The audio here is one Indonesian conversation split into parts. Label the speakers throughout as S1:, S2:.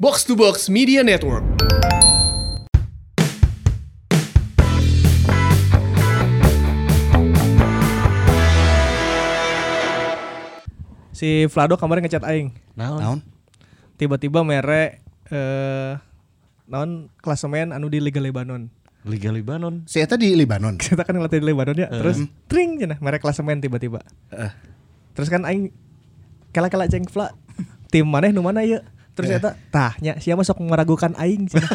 S1: Box to Box Media Network.
S2: si Vlado kemarin ngechat aing.
S3: Naon?
S2: Tiba-tiba mere eh non klasemen anu di Liga Lebanon.
S3: Liga Lebanon.
S4: Si Eta di Libanon.
S2: Kita kan ngelatih di Lebanon ya. Terus tring cenah mere klasemen tiba-tiba. Terus kan aing kala-kala ceng Vla. Tim mana nu mana ya? Terus eta tahnya siapa sok meragukan aing cenah.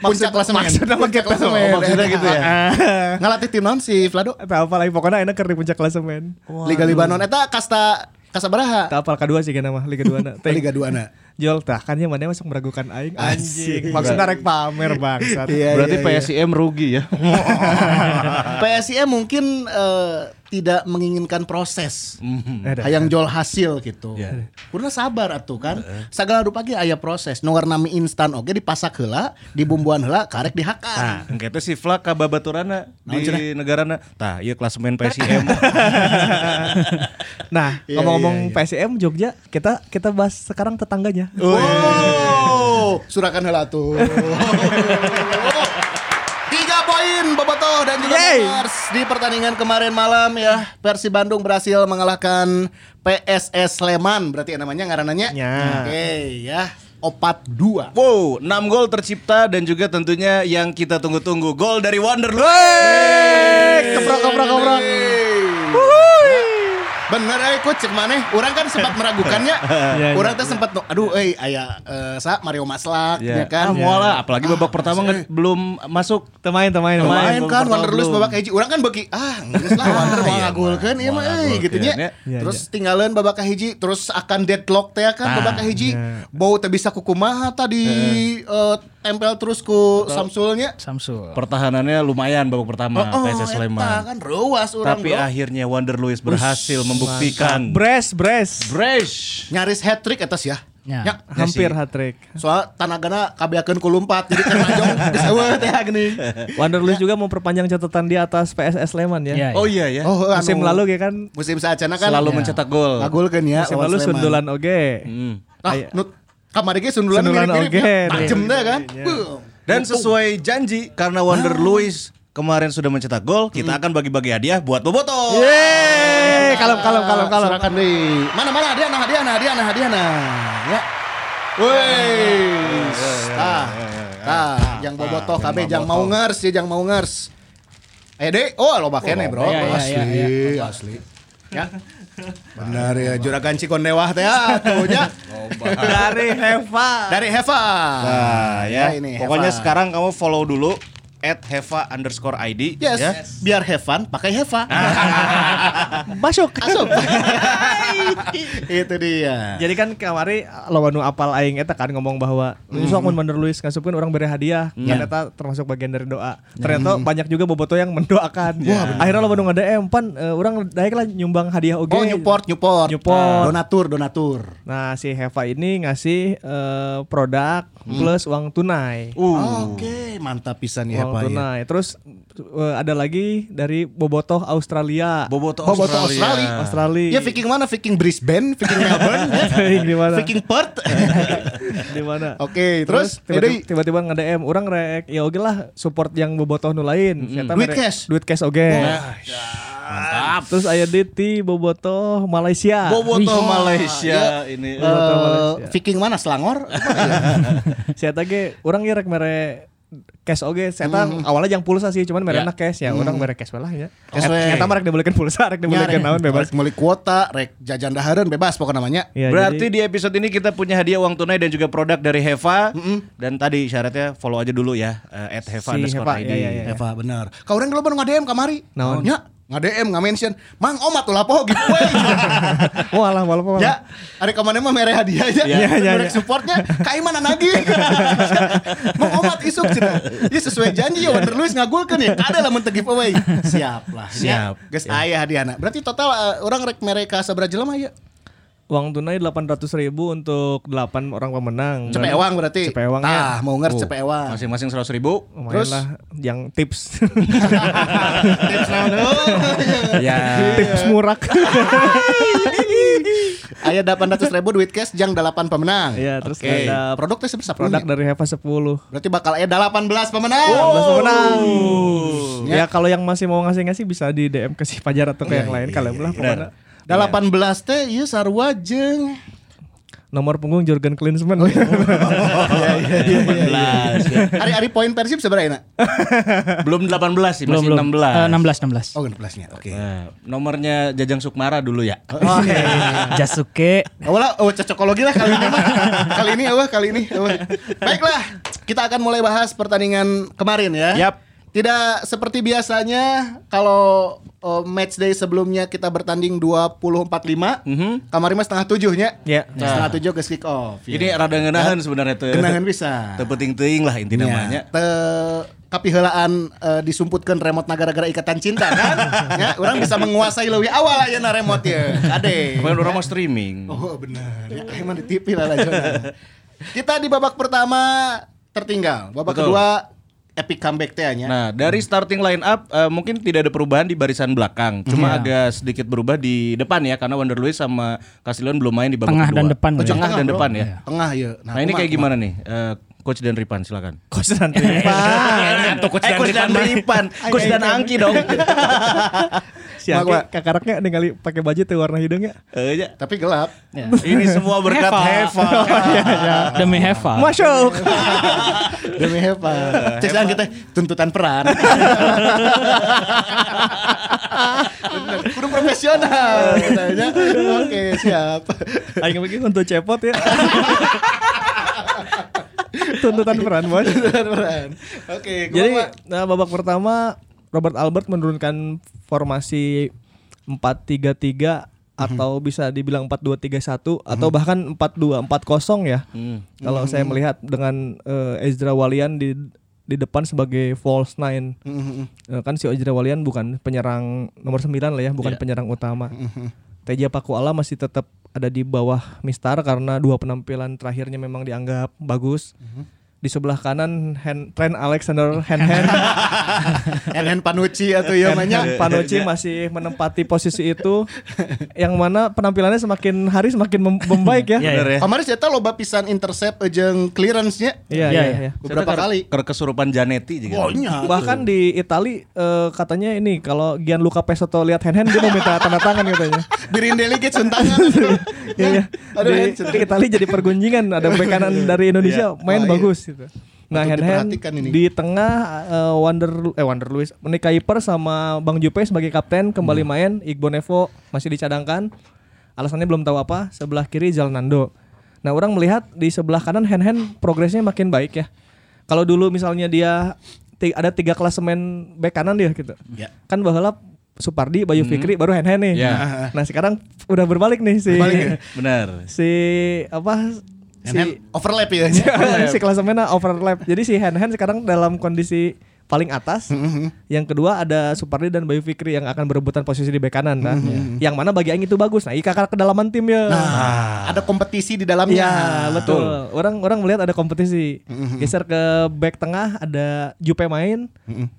S4: Puncak klasemen.
S2: maksudnya
S4: Puncak klasemen.
S3: Maksudnya gitu ya?
S4: Ah. Ngelatih tim naon si Vlado?
S2: Eta apa lagi pokoknya enak keur di puncak klasemen.
S4: Liga Libanon. Eta kasta Kasabaraha.
S2: Tak apal kedua sih kenapa Liga 2 na. Teuing.
S4: Liga 2 na.
S2: Jol tah kan yang mana masuk meragukan aing
S4: Anjing.
S2: anjing. Maksudnya rek pamer bangsat.
S4: Iya,
S3: Berarti
S4: iya, iya.
S3: PSIM rugi ya.
S4: PSIM mungkin eh, tidak menginginkan proses.
S2: Eh, dah.
S4: Hayang jual hasil gitu.
S2: Iya.
S4: Kurna sabar atuh kan. Segala rupa ge aya proses. Nu nami instan oge dipasak heula, dibumbuan heula, karek
S3: Nah,
S4: dihakar.
S3: engke teh si Flak ka babaturana
S4: Naon
S3: di
S4: cenah?
S3: negarana. Tah, iya ieu klasemen PSIM.
S2: Nah,
S4: Iya,
S2: ngomong-ngomong PSM Jogja, kita kita bahas sekarang tetangganya.
S4: Oh, Wow, iya, surakan heula tuh. Tiga poin Boboto dan juga
S2: Yeay.
S4: Pers di pertandingan kemarin malam ya Persi Bandung berhasil mengalahkan PSS Sleman berarti namanya ngarananya.
S2: Ya.
S4: Oke ya. Opat dua.
S3: Wow, 6 gol tercipta dan juga tentunya yang kita tunggu-tunggu gol dari Wanderlust.
S4: Keprok keprok keprok. Bener eh coach cek maneh. Orang kan sempat meragukannya.
S2: Iya,
S4: Orang tuh sempat nu- aduh euy aya eh, sa Mario Maslak
S3: Ya
S4: ya kan.
S3: Ah, moal lah, apalagi babak pertama nge- belum masuk.
S2: Temain, temain, temain.
S4: Main kan
S3: pertama
S4: Wanderlust
S3: belum.
S4: babak hiji urang kan beki ah geus lah Wander mah ngagulkeun ieu mah euy
S3: ngagulkeun,
S4: gitu
S3: ya.
S4: nya.
S2: Iya,
S4: Terus tinggalan babak hiji terus akan deadlock teh kan babak hiji
S2: iya.
S4: bau teh bisa kukumaha tadi eh, tempel terus ku Samsulnya. oh.
S5: Samsul.
S3: Pertahanannya lumayan babak pertama PSS
S4: eta
S3: Sleman.
S4: oh, kan ruas urang
S3: Tapi
S2: ah-
S4: bro.
S3: akhirnya Wanderlust berhasil membuktikan.
S2: Bres, bres.
S3: Bresh.
S4: nyaris hat trick atas ya.
S5: Ya.
S4: Ya.
S2: Hampir
S3: sih.
S2: hat trick.
S4: Soal tanagana kabeakeun ku lumpat jadi kena jong geus eueuh teh gini.
S2: Wanderlust juga memperpanjang catatan di atas PSS Sleman ya.
S5: Ya,
S3: Oh iya ya.
S4: Oh, anu,
S2: Musim lalu ya kan,
S4: musim saacana kan
S3: Selalu mencetak gol.
S4: ngagulkeun ya.
S2: musim
S4: lawan
S2: lalu
S4: Sleman.
S2: sundulan oge.
S3: Hmm.
S4: Nah,
S2: Aya.
S4: nut kamari ge sundulan
S2: Sundulan
S4: mirip-mirip
S2: oge,
S4: ya. Tajem
S2: iya.
S4: teh kan.
S3: Dan sesuai janji karena Wonder
S2: Ah.
S3: Luis kemarin sudah mencetak gol, kita akan bagi-bagi hadiah buat Boboto.
S2: Hmm. Yeay, Eh, kalem, kalem, kalem, kalem.
S4: Silakan deh. Mana mana hadiah nah hadiah nah hadiah nah hadiah nah. Ya. Woi. Tah. Tah, yang bobotoh kabeh jang mau ngers, ya jang mau ngers. Ayo deh, oh lo kene bro,
S5: iya, iya,
S4: asli,
S5: iya,
S4: asli. Ya, benar ya juragan Cikondewah teh atuhnya
S2: Dari Heva.
S4: dari Heva.
S3: Nah, ya.
S4: ini
S3: Pokoknya
S4: Heva.
S3: sekarang kamu follow dulu at Heva underscore ID.
S4: Yes,
S3: Ya.
S4: biar Hevan pakai Heva.
S2: Masuk.
S4: Asup. Itu dia.
S2: Jadi kan kamari lawan nu apal aing eta kan ngomong bahwa besok
S4: Hmm.
S2: mun bener Luis ngasupkeun orang beri hadiah kan
S4: Ya.
S2: eta termasuk bagian dari doa. Ternyata
S4: Hmm.
S2: banyak juga boboto yang mendoakan.
S4: Ya.
S2: Akhirnya lawan nu nge-DM pan eh, urang daek lah nyumbang hadiah oge.
S4: Oh, Newport, Newport.
S2: Newport.
S4: Donatur, donatur.
S2: Nah, si Heva ini ngasih eh, produk
S4: Hmm.
S2: plus uang tunai.
S4: Ah, Oke, mantap pisan Uh, ya
S2: Uang
S4: Pak. ya.
S2: tunai. Terus eh, ada lagi dari bobotoh Australia.
S3: Boboto,
S4: Boboto Australia.
S3: Australia.
S2: Australia.
S4: Ya Viking mana? Viking Brisbane, Viking Melbourne, ya.
S2: Viking di mana?
S4: Viking Perth.
S2: di mana?
S4: Oke, terus,
S2: tiba-tiba-
S4: jadi-
S2: tiba-tiba nge-DM orang rek ya oke lah support yang bobotoh nu lain. Eta
S4: Duit
S2: mere-
S4: cash.
S2: Duit cash oge. Terus aya deui ti bobotoh Malaysia.
S3: Boboto Malaysia ini.
S4: Eh, Viking mana? Selangor?
S2: Si eta ge urang ya rek mere cash oge. Si eta awalnya yang pulsa sih, cuman mere
S3: Ya.
S2: enak cash ya. Urang mere cash lah ya.
S4: Mm-hmm. Cash
S2: Et-
S4: we.
S2: Eta mah rek dibelikeun pulsa, rek dibelikeun naon bebas.
S4: Rek meuli kuota, rek jajan dahareun bebas pokoknya namanya.
S2: Ya,
S3: Berarti
S2: jadi-
S3: di episode ini kita punya hadiah uang tunai dan juga produk dari Heva. Dan tadi syaratnya follow aja dulu ya eh, at Heva
S2: Si
S3: underscore
S2: Heva,
S3: ID.
S2: iya, iya, iya.
S4: Eva benar. Kau orang dulu baru ngadem kamari.
S2: Naon?
S4: Ya, ngadem nggak mention. Mang omat gitu, ulah poho giveaway.
S2: Walah, walah, walah.
S4: ya, ada kemana mah mere hadiah aja.
S2: Iya, iya,
S4: Merek
S2: iya.
S4: supportnya kai mana lagi. Mang omat isuk cina. Ya sesuai janji ya Wonder Luis ngagulkeun ya. Kada lah mun teu giveaway. Siap lah.
S3: Siap.
S4: Ya. Geus aya hadiahna. Berarti total eh, orang rek mere ka sabaraha jelema ya.
S2: Uang tunai 800 ribu untuk 8 orang pemenang.
S4: Cepewang berarti.
S2: Cepewang ya.
S4: Tah, mau ngerti cepewang.
S3: Masing-masing 100 ribu.
S2: Lumayan
S4: Terus?
S2: lah yang tips.
S4: Tips naon?
S2: Iya,
S3: ya.
S2: tips murak.
S4: Aya 800 ribu duit cash jang 8 pemenang.
S2: Iya, terus
S3: Oke.
S2: ada produk
S4: Produknya seberapa?
S2: produk dari Heva 10.
S4: Berarti bakal aya 18 pemenang.
S2: 18 pemenang.
S4: Ya.
S2: Ya kalau yang masih mau ngasih-ngasih bisa di DM ke si Pajar atau ke yang lain kalau lah pokoknya.
S3: Benar.
S4: 18 teh ieu sarua jeung
S2: Nomor punggung Jurgen Klinsmann.
S3: iya.
S2: iya.
S4: hari-hari poin Persib seberapa enak?
S3: Belum 18 sih,
S5: belum
S3: masih
S5: belum
S2: Eh,
S3: 16.
S5: 16 16
S4: Oh, 16-nya. Oke.
S3: Nah, nomornya Jajang Sukmara dulu ya.
S5: Jasuke
S4: Awalnya iya. oh, cocokologi lah kali ini mah. kali ini awah, kali ini awah. Baiklah, kita akan mulai bahas pertandingan kemarin ya.
S3: Yap.
S4: Tidak seperti biasanya kalau eh, match day sebelumnya kita bertanding 20.45. Kemarin mah setengah tujuhnya.
S2: Ya.
S4: Setengah tujuh ke kick off.
S3: Mhm.
S4: ya.
S3: Ini rada ngeunaheun sebenarnya teh.
S4: Kenangan bisa.
S3: Teu teuing lah inti namanya.
S4: Ya, te kapihelaan eh, disumputkan remote na gara-gara ikatan cinta kan. ya, orang bisa menguasai lebih awal aja na remote ya. Ade.
S3: Kemarin orang mau streaming.
S4: Oh benar. Ya, emang di TV lah lah, Jona. Kita di babak pertama tertinggal. Babak
S3: Betul.
S4: kedua epic comeback teh nya.
S3: Nah, dari starting line up eh, mungkin tidak ada perubahan di barisan belakang. Cuma agak sedikit berubah di depan ya karena Wander Luiz sama Casillan belum main di babak
S5: Tengah
S3: kedua.
S5: dan depan,
S3: Oh,
S5: ya.
S3: tengah dan
S4: Bro.
S3: depan ya.
S4: Tengah ya.
S3: Nah, ini kayak gimana nih? Eh, Coach dan Ripan silakan.
S2: Coach dan
S3: Iya.
S2: Klinsmann.
S3: Atau Ah, eh, Coach, dan Ripan, Coach dan Angki dong.
S2: Si Aki kakaraknya ningali pakai baju teh warna hidungnya.
S3: Eh, ya.
S4: Tapi gelap.
S3: Ini semua berkat
S5: Heva.
S3: Heva.
S2: Iya,
S5: demi Heva
S2: Masuk.
S4: Demi Heva.
S3: Nah,
S4: Cek sekarang kita tuntutan peran. Bener, Kudu profesional katanya. Oke, siap.
S2: Aing mikir untuk cepot ya. Tuntutan peran bos.
S4: Tuntutan peran. Oke, kumaha,
S2: Jadi
S4: Pak?
S2: nah, babak pertama Robert Albert menurunkan formasi 4-3-3 atau bisa dibilang 4-2-3-1 atau bahkan 4-2-4-0 ya. Kalau saya melihat dengan eh, Ezra Walian di di depan sebagai false nine. Eh, kan si Ezra Walian bukan penyerang nomor 9 lah ya, bukan penyerang utama. Teja Pakuala masih tetap ada di bawah Mistar karena dua penampilan terakhirnya memang dianggap bagus. Di sebelah kanan Hen, Trent Alexander Henhen
S4: Enen Panucci atau ya
S2: Hen
S4: namanya.
S2: Panucci masih menempati posisi itu yang mana penampilannya semakin hari semakin mem- membaik ya.
S5: Iya, iya.
S3: Bener ya.
S4: Kemarin saya tahu loba pisan intercept jeung clearance-nya
S2: Iya
S5: Iya,
S2: iya
S5: iya.
S2: iya.
S4: beberapa kali.
S3: Ke kesurupan Janetti juga.
S2: Bahkan di Itali eh, katanya ini kalau Gianluca Pesotto lihat Henhen dia mau minta tanda tangan katanya.
S4: Dirindeli ke suntangan.
S2: Iya iya.
S4: Kan? Aduh, Hen,
S2: Di, di Itali jadi pergunjingan ada bek kanan dari Indonesia main
S4: Oh, iya.
S2: bagus gitu. Nah,
S4: Patut
S2: Henhen
S4: diperhatikan ini.
S2: di tengah eh, Wander eh Wander Luis menikahi per sama Bang Jupe sebagai kapten kembali
S4: Hmm.
S2: main Igbo Nevo masih dicadangkan. Alasannya belum tahu apa. Sebelah kiri Jalnando. Nah, orang melihat di sebelah kanan Henhen progresnya makin baik ya. Kalau dulu misalnya dia ti- ada tiga klasemen bek kanan dia gitu.
S4: Ya. Hmm.
S2: Kan bahalap Supardi, Bayu Fikri, baru Henhen nih.
S3: Ya.
S2: Nah sekarang udah berbalik ya? nih si
S3: Bener.
S2: si apa si
S4: Enen overlap ya.
S2: si klasemennya overlap. Jadi si Hen Hen sekarang dalam kondisi paling atas. Yang kedua ada Supardi dan Bayu Fikri yang akan berebutan posisi di bek kanan. Nah, yang mana bagi Aing itu bagus. Nah, ikakar kedalaman tim ya.
S4: Ah. Ada kompetisi di dalamnya.
S2: Iya betul. Orang orang melihat ada kompetisi. Geser ke back tengah ada Jupe main,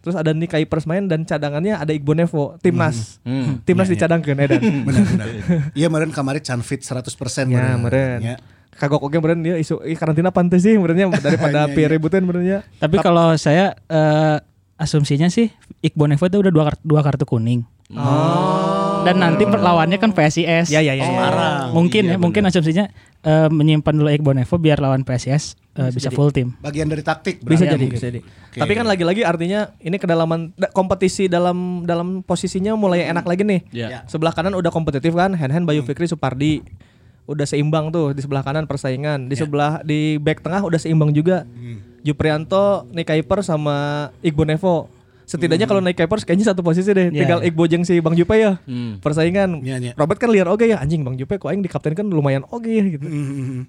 S2: terus ada Nick Kuipers main dan cadangannya ada Iqbal Nevo, timnas. Timnas dicadangkan Edan.
S4: Benar benar. Iya meren kemarin Chanfit 100%
S2: Ya,
S4: meureun.
S2: meren.
S4: Ya.
S2: Kagok oke meren dia isu ih, karantina pantai sih merennya daripada pirebutan merennya.
S5: tapi kalau saya eh, asumsinya sih Iqbal Nevo itu udah dua, kar- dua kartu kuning dan nanti perlawannya kan PSIS
S2: Ya ya ya. ya.
S5: mungkin ya mungkin asumsinya eh, menyimpan dulu Iqbal Nevo biar lawan PSIS eh, bisa full tim
S4: Bagian dari taktik
S2: Bisa
S4: berarti.
S2: jadi, bisa jadi. Tapi kan lagi-lagi artinya ini kedalaman da- kompetisi dalam dalam posisinya mulai enak lagi nih.
S3: Iya.
S4: Ya.
S2: Sebelah kanan udah kompetitif kan, Hen Hen, Bayu Fikri, Supardi udah seimbang tuh di sebelah kanan persaingan, di sebelah di back tengah udah seimbang juga. Juprianto, Nick Kuiper sama Igbo Nevo. Setidaknya kalau Nick Kuiper kayaknya satu posisi deh,
S5: Ya.
S2: tinggal Igbo jeung si Bang Jupe ya.
S3: Hmm.
S2: Persaingan.
S4: Ya, ya.
S2: Robert kan liar oke ya anjing Bang Jupe kok aing dikaptenkan lumayan oke ya gitu.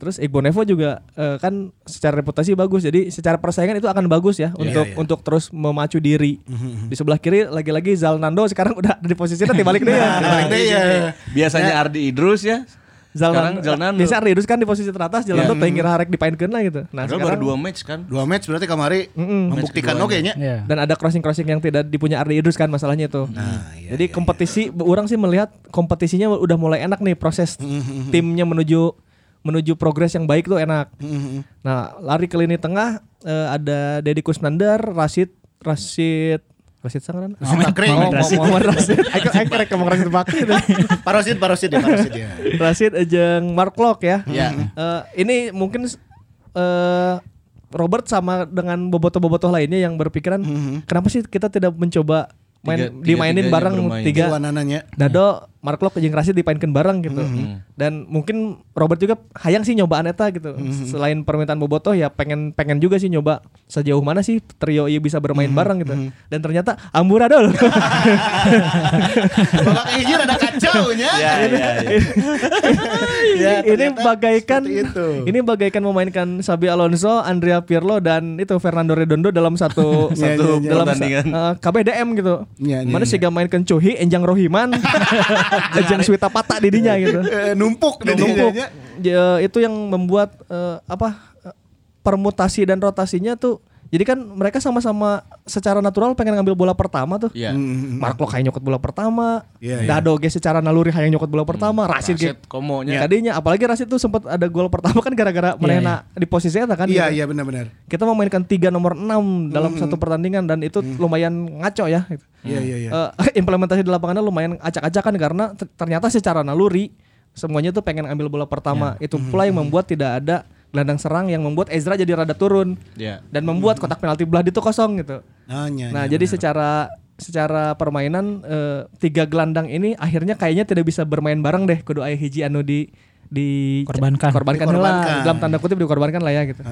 S2: Terus Igbo Nevo juga eh, kan secara reputasi bagus. Jadi secara persaingan itu akan bagus ya untuk untuk terus memacu diri. Di sebelah kiri lagi-lagi
S4: Iya,
S2: Zalnando sekarang udah ada di posisinya nanti balik deh ya.
S4: Nah, balik deh ya.
S3: Biasanya Ardi Idrus ya. Sekarang Zaldan
S2: Biasa Ridus kan di posisi teratas, Jalan
S3: Iya.
S2: tuh tengir harek dipainkeun lah gitu. Nah,
S3: Padahal
S2: sekarang
S3: baru dua match kan.
S4: Dua match berarti kamari membuktikan oke nya.
S5: Iya.
S2: dan ada crossing-crossing yang tidak dipunya Ardi Idrus kan masalahnya itu. Jadi kompetisi orang sih melihat kompetisinya udah mulai enak nih proses timnya menuju menuju progres yang baik tuh enak. Nah, lari ke lini tengah eh, ada Deddy Kusnandar, Rashid Rashid Rashid Sangaran.
S4: Muhammad Bakri.
S2: Oh, Muhammad Rashid. Aku aku rek ngomong Rashid Bakri itu.
S4: Parosid, parosid ya, parosid ya.
S2: Rashid jeung Mark Locke ya.
S4: Iya.
S2: Eh, ini mungkin eh, Robert sama dengan bobotoh-bobotoh lainnya yang berpikiran kenapa sih kita tidak mencoba main
S3: Mm-hmm. Tiga-
S2: dimainin
S3: tiga-tiganya
S2: bareng
S3: bermain. Mm-hmm.
S2: tiga
S4: Wanananya.
S2: Dado, Mark Locke jeung Rashid dipainkan bareng gitu. Dan mungkin Robert juga hayang sih nyobaan eta gitu.
S3: Mm-hmm.
S2: Selain permintaan bobotoh ya pengen pengen juga sih nyoba sejauh mana sih trio ieu bisa bermain
S3: Mm-hmm.
S2: bareng gitu. Dan ternyata amburadul.
S4: Babak hiji rada kacau nya.
S3: Iya, iya, iya.
S4: Ya,
S2: ini
S4: ternyata
S2: bagaikan
S4: seperti itu.
S2: ini bagaikan memainkan Sabi Alonso, Andrea Pirlo dan itu Fernando Redondo dalam satu
S4: Iya,
S2: satu
S4: iya, iya.
S2: dalam
S3: Pertandingan.
S2: eh, KBDM gitu.
S4: Iya, iya,
S2: Mana
S4: iya.
S2: sih gak mainkan Cuhi, Enjang Rohiman, Enjang Swita Pata didinya gitu.
S4: Eh, numpuk
S2: Numpuk.
S4: jadinya.
S2: Ya, itu yang membuat eh, apa eh, permutasi dan rotasinya tuh jadi kan mereka sama-sama secara natural pengen ngambil bola pertama tuh.
S4: ya.
S3: Iya.
S2: Mark Locke hayang nyokot bola pertama,
S4: Iya, Mm. iya.
S2: Dado ge secara naluri hayang nyokot bola pertama, Rashid ge
S3: Rashid komonya.
S2: Tadinya apalagi Rashid tuh sempat ada gol pertama kan gara-gara Menena di posisi eta kan.
S4: Iya,
S2: gitu.
S4: iya benar-benar.
S2: Kita memainkan tiga nomor 6 dalam satu pertandingan dan itu lumayan ngaco ya. gitu.
S4: Mm. Iya, iya, iya.
S2: Eh, implementasi di lapangannya lumayan acak-acakan karena ter- ternyata secara naluri semuanya tuh pengen ambil bola pertama.
S4: Iya.
S2: Itu
S4: Mm-hmm,
S2: pula yang membuat tidak ada gelandang serang yang membuat Ezra jadi rada turun
S3: Iya.
S2: dan membuat kotak penalti belah itu kosong gitu.
S4: Nah, nya,
S2: Nah,
S4: nya,
S2: jadi secara secara permainan eh, tiga gelandang ini akhirnya kayaknya tidak bisa bermain bareng deh kudu aya hiji anu di di
S5: Korbankan.
S2: korbankan
S4: Dikorbankan.
S2: heula. dalam tanda kutip dikorbankan lah ya gitu.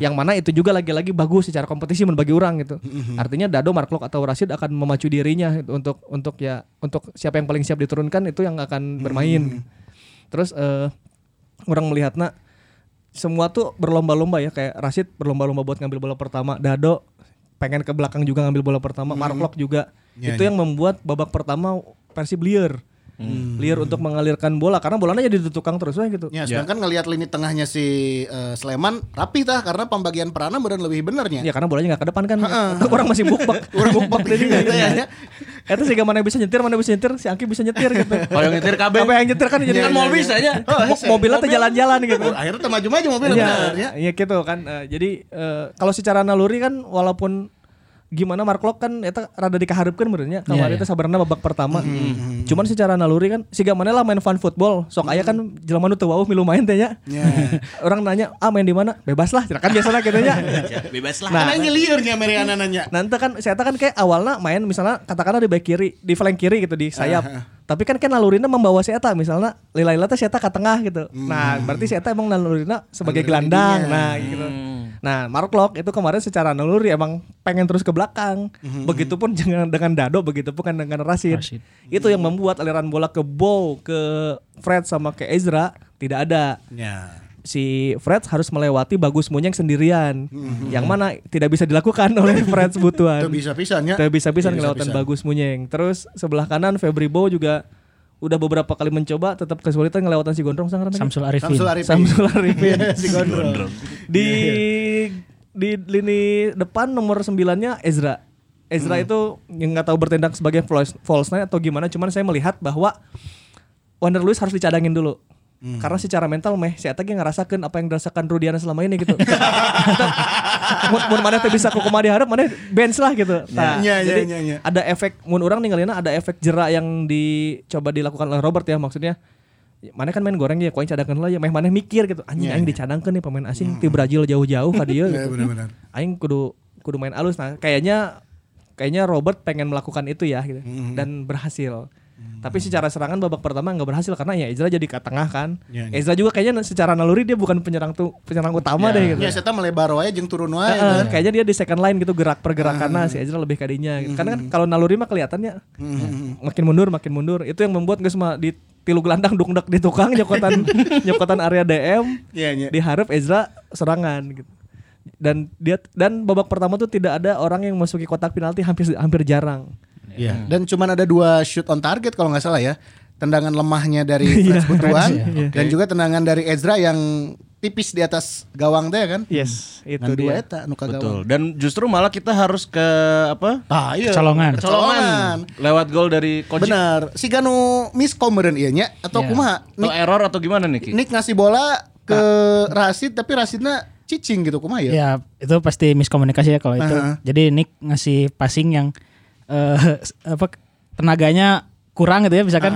S2: Yang mana itu juga lagi-lagi bagus secara kompetisi men bagi orang gitu.
S4: Mm-hmm.
S2: Artinya Dado, Mark Locke atau Rashid akan memacu dirinya gitu, untuk untuk ya untuk siapa yang paling siap diturunkan itu yang akan
S4: Mm-hmm.
S2: bermain. Terus eh orang melihatnya semua tuh berlomba-lomba ya kayak Rashid berlomba-lomba buat ngambil bola pertama, Dado pengen ke belakang juga ngambil bola pertama, Mark Locke juga.
S4: Iya, Mm-hmm.
S2: itu yang membuat babak pertama Persib liar. Liar untuk mengalirkan bola karena bolanya jadi ditukang terus weh gitu.
S4: Ya, sedangkan ngelihat lini tengahnya si eh, Sleman rapi tah karena pembagian peranan benar lebih benernya.
S2: Ya karena bolanya gak ke depan kan. Orang masih bukbak. Orang bukbak tadi gitu ya. Itu sih gak mana bisa nyetir, mana bisa nyetir, si Angki bisa nyetir gitu.
S3: Kalau yang nyetir KB.
S2: Apa yang nyetir kan jadi
S3: Kan mobil saja.
S2: Mo- mobilnya tuh jalan-jalan gitu.
S4: Akhirnya teh maju-maju mobil bener ya.
S2: Iya, iya gitu kan. Eh, jadi eh, kalau secara naluri kan walaupun gimana Mark Locke kan eta rada dikaharapkeun menurutnya kemarin itu
S5: Iya,
S2: sabarna babak pertama.
S3: Mm-hmm,
S2: Cuman secara naluri kan siga mana lah main fun football. Sok aya kan jelema nu teu wauh milu main teh nya.
S3: Iya.
S4: Ya.
S2: Orang nanya, "Ah main di mana?" Bebas lah, kan biasanya gitu nya.
S3: Bebas lah.
S4: Nah, nanya liurnya Meriana nanya.
S2: Nanti kan saya kan kayak awalnya main misalnya katakanlah di back kiri, di flank kiri gitu di sayap. Tapi kan kan nalurina membawa si Eta misalnya Lila Lila teh si Eta ke tengah gitu. Nah, berarti si Eta emang nalurina sebagai gelandang. Nah, gitu. Nah, Mark Locke itu kemarin secara naluri emang pengen terus ke belakang. Begitupun dengan dengan Dado, begitupun kan dengan Rashid.
S5: Rashid.
S2: Itu yang membuat aliran bola ke Bow, ke Fred sama ke Ezra tidak ada
S4: Ya.
S2: si Fred harus melewati Bagus Munyeng sendirian. Yang mana tidak bisa dilakukan oleh Fred
S4: Itu
S2: Sebutuan.
S4: bisa pisan ya.
S2: Tidak bisa-bisa
S4: Teu
S2: kelewatan
S4: bisa-pisan.
S2: Bagus Munyeng. Terus sebelah kanan Febri Bow juga udah beberapa kali mencoba tetap kesulitan ngelewatan si Gondrong sang gitu. Renang.
S5: Samsul Arifin.
S4: Samsul Arifin.
S2: Samsul Arifin.
S4: si Gondrong. Iya,
S2: Di di lini depan nomor sembilannya Ezra. Ezra
S4: Hmm.
S2: itu yang nggak tahu bertindak sebagai false, false nine atau gimana, cuman saya melihat bahwa Wander Luiz harus dicadangin dulu.
S4: Hmm.
S2: Karena secara mental meh si Eta ge ngerasakeun apa yang dirasakan Rudiana selama ini gitu. mun, mun mana teu bisa kukuma diharap mana bench lah gitu. Nah,
S4: Ya, ya,
S2: jadi
S4: ya, ya.
S2: ada efek mun orang ninggalinna ada efek jerak yang dicoba dilakukan oleh Robert ya maksudnya mana kan main goreng ya koin cadangkan lah ya meh mana mikir gitu anjing aing dicadangkan nih pemain asing ti Brazil jauh-jauh ka dieu
S4: Ya
S2: gitu.
S4: benar-benar.
S2: aing kudu kudu main alus nah kayaknya kayaknya Robert pengen melakukan itu ya gitu dan berhasil tapi secara serangan babak pertama nggak berhasil karena ya Ezra jadi ke tengah kan
S4: Ya, ya.
S2: Ezra juga kayaknya secara naluri dia bukan penyerang tuh penyerang utama deh gitu
S4: Ya, saya teh melebar wae jeung turun wae.
S2: Heeh, kayaknya dia di second line gitu gerak
S4: Ah.
S2: pergerakannya si Ezra lebih kadinya gitu. Karena kan
S4: Hmm.
S2: kalau naluri mah kelihatannya makin mundur makin mundur. Itu yang membuat geus mah di tilu gelandang dungdek di tukang nyokotan nyokotan area DM
S4: Iya, iya.
S2: diharap Ezra serangan gitu. Dan dia dan babak pertama tuh tidak ada orang yang masuki kotak penalti hampir hampir jarang.
S4: Iya. Hmm. Dan cuman ada dua shoot on target kalau nggak salah ya. Teh tendangan lemahnya dari
S2: Iya,
S4: Frans Butuan dan juga tendangan dari Ezra yang tipis di atas gawang teh kan.
S2: Yes, Hmm. itu
S4: Nah, dua
S2: dia.
S4: eta nu ka
S3: Betul.
S4: gawang.
S3: Dan justru malah kita harus ke apa?
S4: Tah, iya.
S5: Kecolongan.
S4: Kecolongan.
S3: Lewat gol dari Kojik.
S4: Benar. Si Ganu miskom beureun ieu nya atau
S5: Iya.
S4: kumaha?
S3: Atau
S4: Nick,
S3: error atau gimana nih Ki?
S4: Nick ngasih bola ke Rasid tapi Rasidnya cicing gitu kumaha
S2: Iya.
S4: ya.
S5: Ya itu pasti miskomunikasi ya kalau itu.
S4: Aha.
S5: Jadi Nick ngasih passing yang eh, apa tenaganya kurang gitu ya misalkan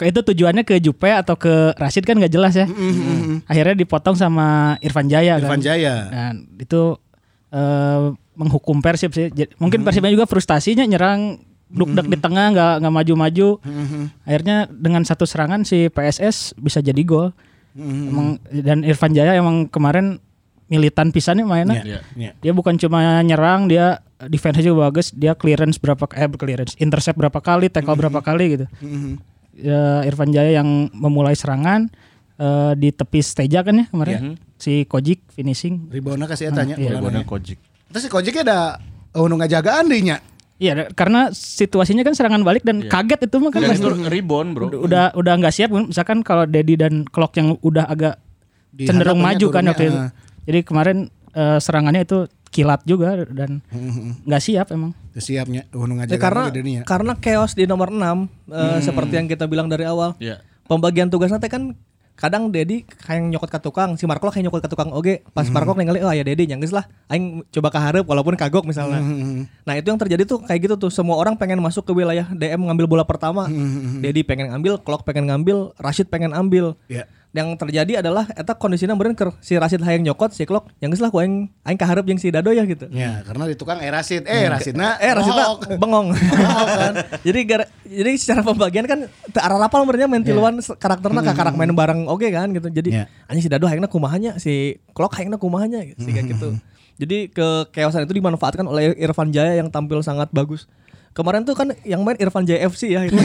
S5: itu tujuannya ke Jupe atau ke Rashid kan nggak jelas ya. Akhirnya dipotong sama Irfan Jaya
S4: Mm-hmm. Irfan
S5: kan.
S4: Jaya.
S5: Dan itu eh, menghukum Persib sih. Jadi, mungkin Persibnya juga frustasinya nyerang duk-duk di tengah nggak nggak maju-maju. Akhirnya dengan satu serangan si PSS bisa jadi gol. Emang dan Irfan Jaya emang kemarin militan pisannya
S4: Nah,
S5: mainnya.
S3: Iya.
S5: Dia bukan cuma nyerang, dia defense juga bagus, dia clearance berapa eh clearance, intercept berapa kali, tackle
S4: Mm-hmm.
S5: berapa kali gitu. Ya, Irfan Jaya yang memulai serangan eh, di tepi Steja kan ya
S4: Iya.
S5: kemarin. Si Kojik finishing.
S4: Ribona kasih eta nya.
S5: Ah, iya.
S4: bolana nya.
S3: Golnya Kojik.
S4: Terus si Kojeknya ada oh, nu ngajagaan deui nya.
S5: Iya, da- karena situasinya kan serangan balik dan
S4: Iya.
S5: kaget itu mah kan
S3: Dan
S5: pasti
S3: itu rebound, Bro.
S5: udah udah- udah nggak siap misalkan kalau Dedi dan Klok yang udah agak
S4: Di
S5: cenderung
S4: hadapannya
S5: maju kan
S4: turunnya,
S5: waktu itu.
S4: ah.
S5: Jadi kemarin eh, serangannya itu kilat juga dan
S4: Mm-hmm.
S5: nggak siap emang.
S4: Teu siap nya. Oh, nu
S2: Ya,
S4: ngajagaan
S2: karena
S4: gede deui nya.
S2: karena chaos di nomor 6 seperti yang kita bilang dari awal.
S3: Iya.
S2: Pembagian tugasnya teh kan kadang Dedi kayak nyokot ke tukang, si Marco kayak nyokot ke tukang oge. Pas Marco ningali oh ya Dedi nyanggeus lah. Aing coba ke hareup walaupun kagok misalnya. Nah, itu yang terjadi tuh kayak gitu tuh. Semua orang pengen masuk ke wilayah DM ngambil bola pertama. Dedi pengen ngambil, Klok pengen ngambil, Rashid pengen ambil.
S4: Iya.
S2: Yang terjadi adalah eta kondisinya meureun keur si Rashid hayang nyokot, si Klok nyanggeus lah ku aing aing kahareup jeung si Dado ya gitu.
S4: Ya, karena di tukang eh Rasid, eh Rasidna,
S2: Eh Rasita
S4: mohok.
S2: bengong. kan? jadi gara- jadi secara pembagian kan teu arah lapal merenya main tiluan se- karakterna ka karak main bareng oke kan gitu. Jadi
S4: Iya.
S2: anjing si Dado hayangna kumahanya, si Klok hayangna kumahanya gitu. Sehingga gitu. Jadi ke keosan itu dimanfaatkan oleh Irfan Jaya yang tampil sangat bagus. Kemarin tuh kan yang main Irfan Jaya FC ya. itu.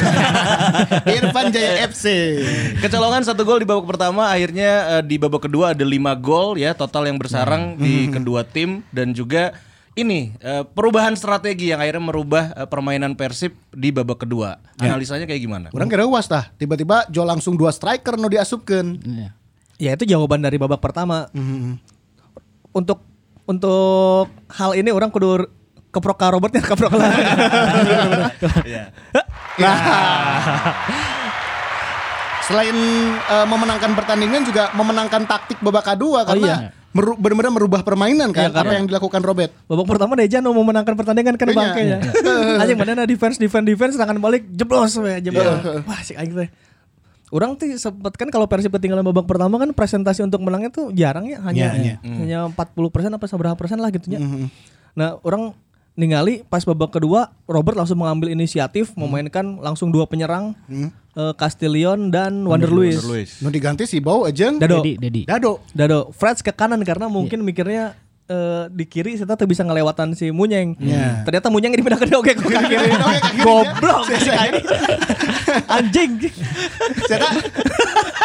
S4: Irfan Jaya FC.
S3: Kecolongan satu gol di babak pertama, akhirnya eh, di babak kedua ada lima gol ya total yang bersarang di kedua tim dan juga ini eh, perubahan strategi yang akhirnya merubah eh, permainan Persib di babak kedua. Analisanya kayak gimana?
S4: Orang kira was tah, tiba-tiba Jo langsung dua striker nu diasupkeun.
S2: ya itu jawaban dari babak pertama. Untuk untuk hal ini orang kudu keprok ka Robertnya keprok lah.
S3: Iya.
S4: Nah. Selain eh, memenangkan pertandingan juga memenangkan taktik babak kedua karena meru- benar-benar merubah permainan kan apa yang dilakukan Robert.
S2: Babak pertama Dejan mau memenangkan pertandingan kan
S4: Iya.
S2: bangkainya. Anjing mana defense defense defense serangan balik jeblos we jeblos. Wah sih anjing teh. Orang tuh sempet kan kalau Persib ketinggalan babak pertama kan presentasi untuk menangnya tuh jarang ya hanya
S4: Iya,
S2: hanya 40 persen apa seberapa persen lah gitunya. Nah orang ningali pas babak kedua Robert langsung mengambil inisiatif memainkan langsung dua penyerang eh, Castillion dan Wander Luiz.
S3: Luis.
S4: Nu diganti si Bau aja
S2: Dado.
S5: Dedi, Dedi.
S4: Dado.
S2: Dado Iya. Freds ke kanan karena mungkin mikirnya eh, di kiri saya tuh bisa ngelewatan si Munyeng.
S4: Iya.
S2: Ternyata Munyeng dipindah ke oke Iya, ke kiri.
S4: Oke, ke kiri.
S2: Goblok si Kai. Anjing.
S4: Saya